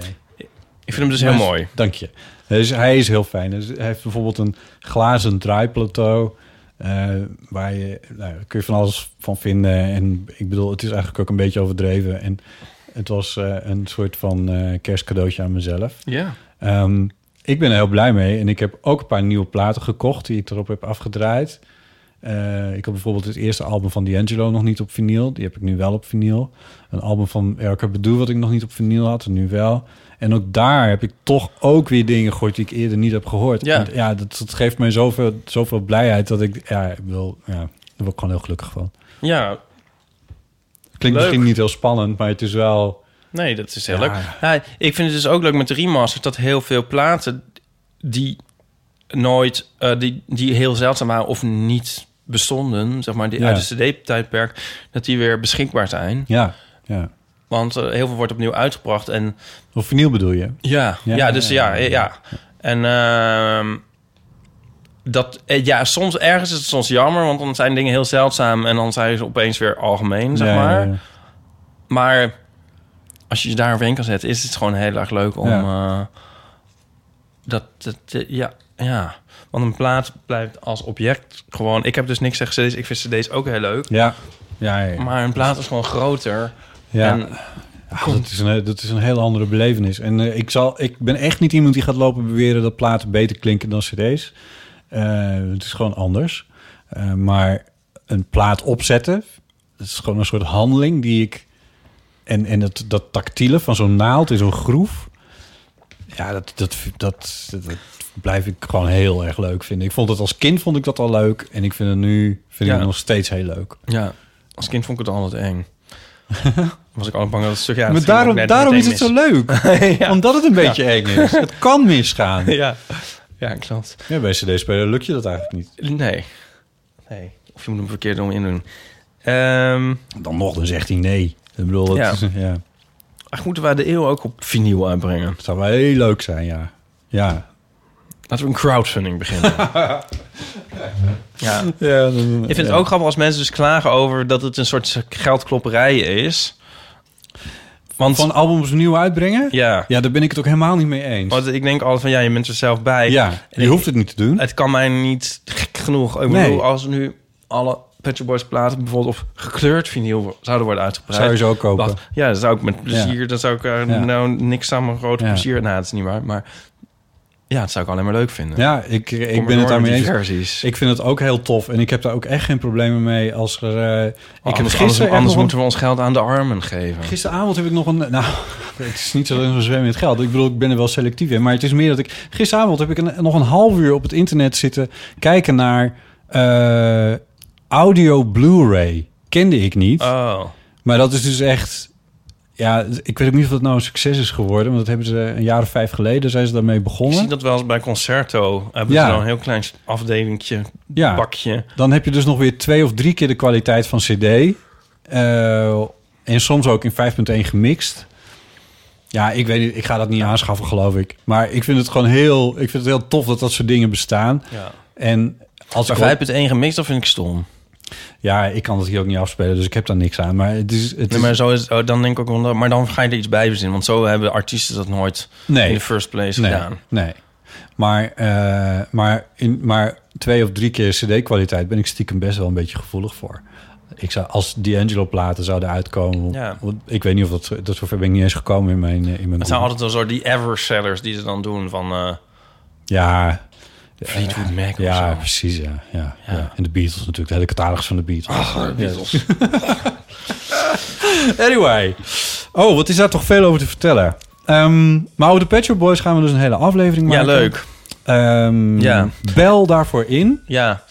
S2: Ik vind hem dus heel
S1: Maar-
S2: mooi.
S1: Dank je. Dus hij is heel fijn. Dus hij heeft bijvoorbeeld een glazen draaiplateau. eh, waar je, nou, daar kun je van alles van vinden. En ik bedoel, het is eigenlijk ook een beetje overdreven. En het was eh, een soort van eh, kerstcadeautje aan mezelf.
S2: Ja.
S1: Ehm, ik ben er heel blij mee. En ik heb ook een paar nieuwe platen gekocht die ik erop heb afgedraaid. Eh, ik heb bijvoorbeeld het eerste album van D'Angelo nog niet op vinyl. Die heb ik nu wel op vinyl. Een album van Erika Bedoel wat ik nog niet op vinyl had, en nu wel. En ook daar heb ik toch ook weer dingen gehoord die ik eerder niet heb gehoord.
S2: Ja.
S1: En ja dat, dat geeft mij zoveel, zoveel blijheid dat ik... Ja, ik wil, ja, daar word ik gewoon heel gelukkig van.
S2: Ja,
S1: Klinkt
S2: Leuk.
S1: misschien niet heel spannend, maar het is wel...
S2: nee, dat is heel
S1: Ja.
S2: leuk. Ja, ik vind het dus ook leuk met de remasters dat heel veel platen die nooit, eh, die, die heel zeldzaam waren of niet bestonden, zeg maar, die
S1: Ja.
S2: uit het CD-tijdperk, dat die weer beschikbaar zijn.
S1: Ja, ja.
S2: Want eh, heel veel wordt opnieuw uitgebracht en
S1: Of vinyl bedoel je?
S2: Ja, ja,
S1: Ja,
S2: dus ja,
S1: ja,
S2: ja. En ehm, dat, eh, ja, soms ergens is het soms jammer, want dan zijn dingen heel zeldzaam en dan zijn ze opeens weer algemeen, zeg
S1: Ja, ja,
S2: maar.
S1: ja.
S2: Maar als je je daar overheen kan zetten, is het gewoon heel erg leuk om
S1: Ja.
S2: eh, dat, dat, eh, ja, ja. Want een plaat blijft als object gewoon. Ik heb dus niks tegen CD's. Ik vind CD's ook heel leuk.
S1: Ja, ja, ja.
S2: Maar een plaat is gewoon groter.
S1: ja.
S2: En
S1: Ah, dat, is een, dat is een hele andere belevenis. En eh, ik, zal, ik ben echt niet iemand die gaat lopen beweren dat platen beter klinken dan cd's. Eh, het is gewoon anders. Eh, maar een plaat opzetten, dat is gewoon een soort handeling die ik... En, en dat, dat tactiele van zo'n naald in zo'n groef... Ja, dat, dat, dat, dat, dat blijf ik gewoon heel erg leuk vinden. Ik vond het als kind vond ik dat al leuk. En ik vind het nu vind
S2: Ja.
S1: ik het nog steeds heel leuk.
S2: Ja, als kind vond ik het altijd eng. Was ik altijd bang dat het stuk... Ja, het
S1: maar
S2: ging ook
S1: daarom,
S2: net
S1: daarom is
S2: meteen
S1: het zo leuk.
S2: mis. ja.
S1: Omdat het een beetje eng is. Het kan misgaan.
S2: ja. ja, klopt.
S1: Ja, bij CD-speler lukt je dat eigenlijk niet.
S2: Nee. nee. Of je moet hem verkeerd om in doen. Ehm,
S1: Dan nog, dan zegt hij nee. Ik bedoel, dat
S2: Ja.
S1: is- ja,
S2: ach, moeten wij de eeuw ook op vinyl uitbrengen?
S1: het zou wel heel leuk zijn, ja. Ja.
S2: Laten we een crowdfunding beginnen. ja.
S1: ja
S2: Ik vind het ook grappig als mensen dus klagen over dat het een soort geldklopperij is. Want,
S1: Van albums nieuw uitbrengen?
S2: ja.
S1: Ja, daar ben ik het ook helemaal niet mee eens.
S2: Want ik denk altijd van, ja, je bent er zelf bij.
S1: ja, je
S2: ik-
S1: hoeft het niet te doen.
S2: het kan mij niet gek genoeg. Ik
S1: Nee.
S2: bedoel, als nu alle Pet Shop Boys platen bijvoorbeeld op gekleurd vinyl zouden worden uitgebreid.
S1: Zou je ze ook kopen?
S2: dat- ja, dat zou ik met plezier. Dan zou ik eh,
S1: Ja.
S2: nou niks aan mijn grote
S1: Ja.
S2: plezier. Nou, dat is niet waar. Maar ja, dat zou ik alleen maar leuk vinden.
S1: Ja, ik, ik
S2: Kom
S1: ben
S2: maar
S1: het
S2: door
S1: daarmee
S2: met
S1: eens.
S2: die versies.
S1: Ik vind het ook heel tof. En ik heb daar ook echt geen problemen mee als er... eh, ik heb
S2: Oh, anders
S1: gisteren
S2: anders,
S1: echt
S2: anders
S1: nog een-
S2: moeten we ons geld aan de armen geven.
S1: Gisteravond heb ik nog een... Nou, het is niet zo dat we zwemmen in het geld. Ik bedoel, ik ben er wel selectief in. Maar het is meer dat ik... Gisteravond heb ik een, nog een half uur op het internet zitten... kijken naar eh, audio Blu-ray. Kende ik niet.
S2: Oh,
S1: Maar dat is dus echt... Ja, ik weet ook niet of dat nou een succes is geworden. Want dat hebben ze een jaar of vijf geleden zijn ze daarmee
S2: ik zie
S1: begonnen.
S2: dat wel eens bij Concerto. Hebben
S1: Ja.
S2: ze dan een heel klein afdelingtje,
S1: Ja.
S2: bakje.
S1: Dan heb je dus nog weer twee of drie keer de kwaliteit van CD. Eh, en soms ook in 5.1 gemixt. Ja, ik weet niet, ik ga dat niet aanschaffen, geloof ik. Maar ik vind het gewoon heel, ik vind het heel tof dat dat soort dingen bestaan.
S2: Ja.
S1: En als ik
S2: Maar 5.1 gemixt, dat vind ik stom.
S1: Ja, ik kan het hier ook niet afspelen, dus ik heb daar niks aan. Maar het is. Het
S2: Nee,
S1: is-
S2: maar, zo is, oh, dan denk ik ook, wel- maar dan ga je er iets bij verzinnen. Want zo hebben artiesten dat nooit
S1: Nee.
S2: in de first place
S1: nee,
S2: gedaan.
S1: nee. Maar, eh, maar, in, maar twee of drie keer CD-kwaliteit ben ik stiekem best wel een beetje gevoelig voor. Ik zou, als D'Angelo-platen zouden uitkomen.
S2: Ja.
S1: want Ik weet niet of dat, dat zover ben ik niet eens gekomen in mijn. eh, In mijn
S2: Het zijn
S1: boek.
S2: altijd wel zo die ever-sellers die ze dan doen van eh
S1: Ja,
S2: Fleetwood Mac
S1: ja,
S2: of zo.
S1: precies. Ja, ja, ja. En de Beatles natuurlijk, de hele catalogus van de Beatles.
S2: Oh. Beatles.
S1: Anyway. Oh, wat is daar toch veel over te vertellen? Ehm, maar over de Pet Shop Boys gaan we dus een hele aflevering
S2: Ja,
S1: maken.
S2: leuk.
S1: Ehm,
S2: Ja.
S1: Bel daarvoor in.
S2: Ja.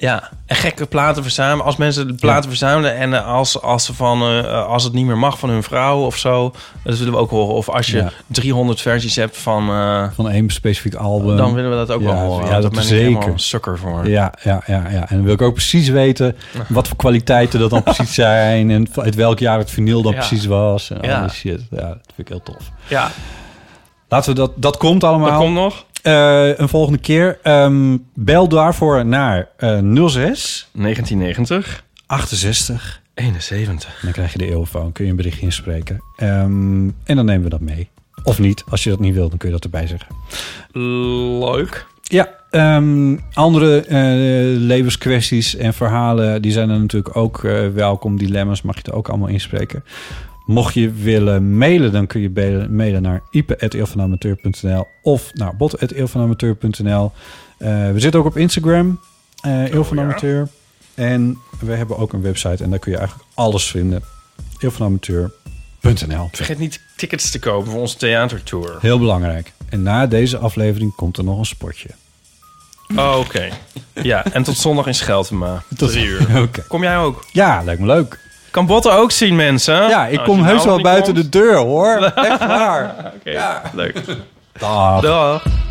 S2: Ja, en gekke platen verzamelen. Als mensen de platen verzamelen en eh, als, als, ze van, eh, als het niet meer mag van hun vrouw of zo, dat willen we ook horen. Of als je
S1: Ja.
S2: 300 versies hebt van, eh,
S1: Van één specifiek album.
S2: dan willen we dat ook
S1: ja,
S2: wel horen.
S1: ja,
S2: Want
S1: dat
S2: ben ik
S1: zeker.
S2: helemaal een sukker voor.
S1: Ja, ja, ja, ja. En dan wil ik ook precies weten wat voor kwaliteiten dat dan precies zijn. En uit welk jaar het vinyl dan
S2: Ja.
S1: precies was. En
S2: Ja.
S1: al die shit. Ja, dat vind ik heel tof.
S2: Ja,
S1: Laten we dat... Dat komt
S2: dat
S1: allemaal.
S2: komt nog.
S1: Eh, een volgende keer. Ehm, bel daarvoor naar eh 06
S2: 1990,
S1: 68
S2: 71.
S1: En dan krijg je de eeuwfoon, kun je een berichtje inspreken. Ehm, en dan nemen we dat mee. Of niet, als je dat niet wilt, dan kun je dat erbij zeggen.
S2: Leuk.
S1: Ja, ehm, andere eh, levenskwesties en verhalen, die zijn er natuurlijk ook eh, welkom. Dilemma's mag je er ook allemaal inspreken. Mocht je willen mailen, dan kun je belen- mailen naar ipe.eelvanamateur.nl of naar bot.eelvanamateur.nl. Eh we zitten ook op Instagram, eh Eel van Amateur. En we hebben ook een website en daar kun je eigenlijk alles vinden. Eelvanamateur.nl.
S2: Vergeet niet tickets te kopen voor onze theatertour.
S1: Heel belangrijk. En na deze aflevering komt er nog een spotje.
S2: Oh, oké. Ja, en tot zondag in Scheltema.
S1: Tot
S2: Drie uur.
S1: Oké.
S2: Kom jij ook?
S1: Ja, lijkt me leuk.
S2: Kan Botte ook zien, mensen?
S1: Ja, ik
S2: Nou,
S1: kom
S2: als je
S1: heus
S2: nou
S1: wel
S2: niet
S1: buiten
S2: komt.
S1: de deur hoor. Echt waar.
S2: Oké, leuk.
S1: Dag.
S2: Dag.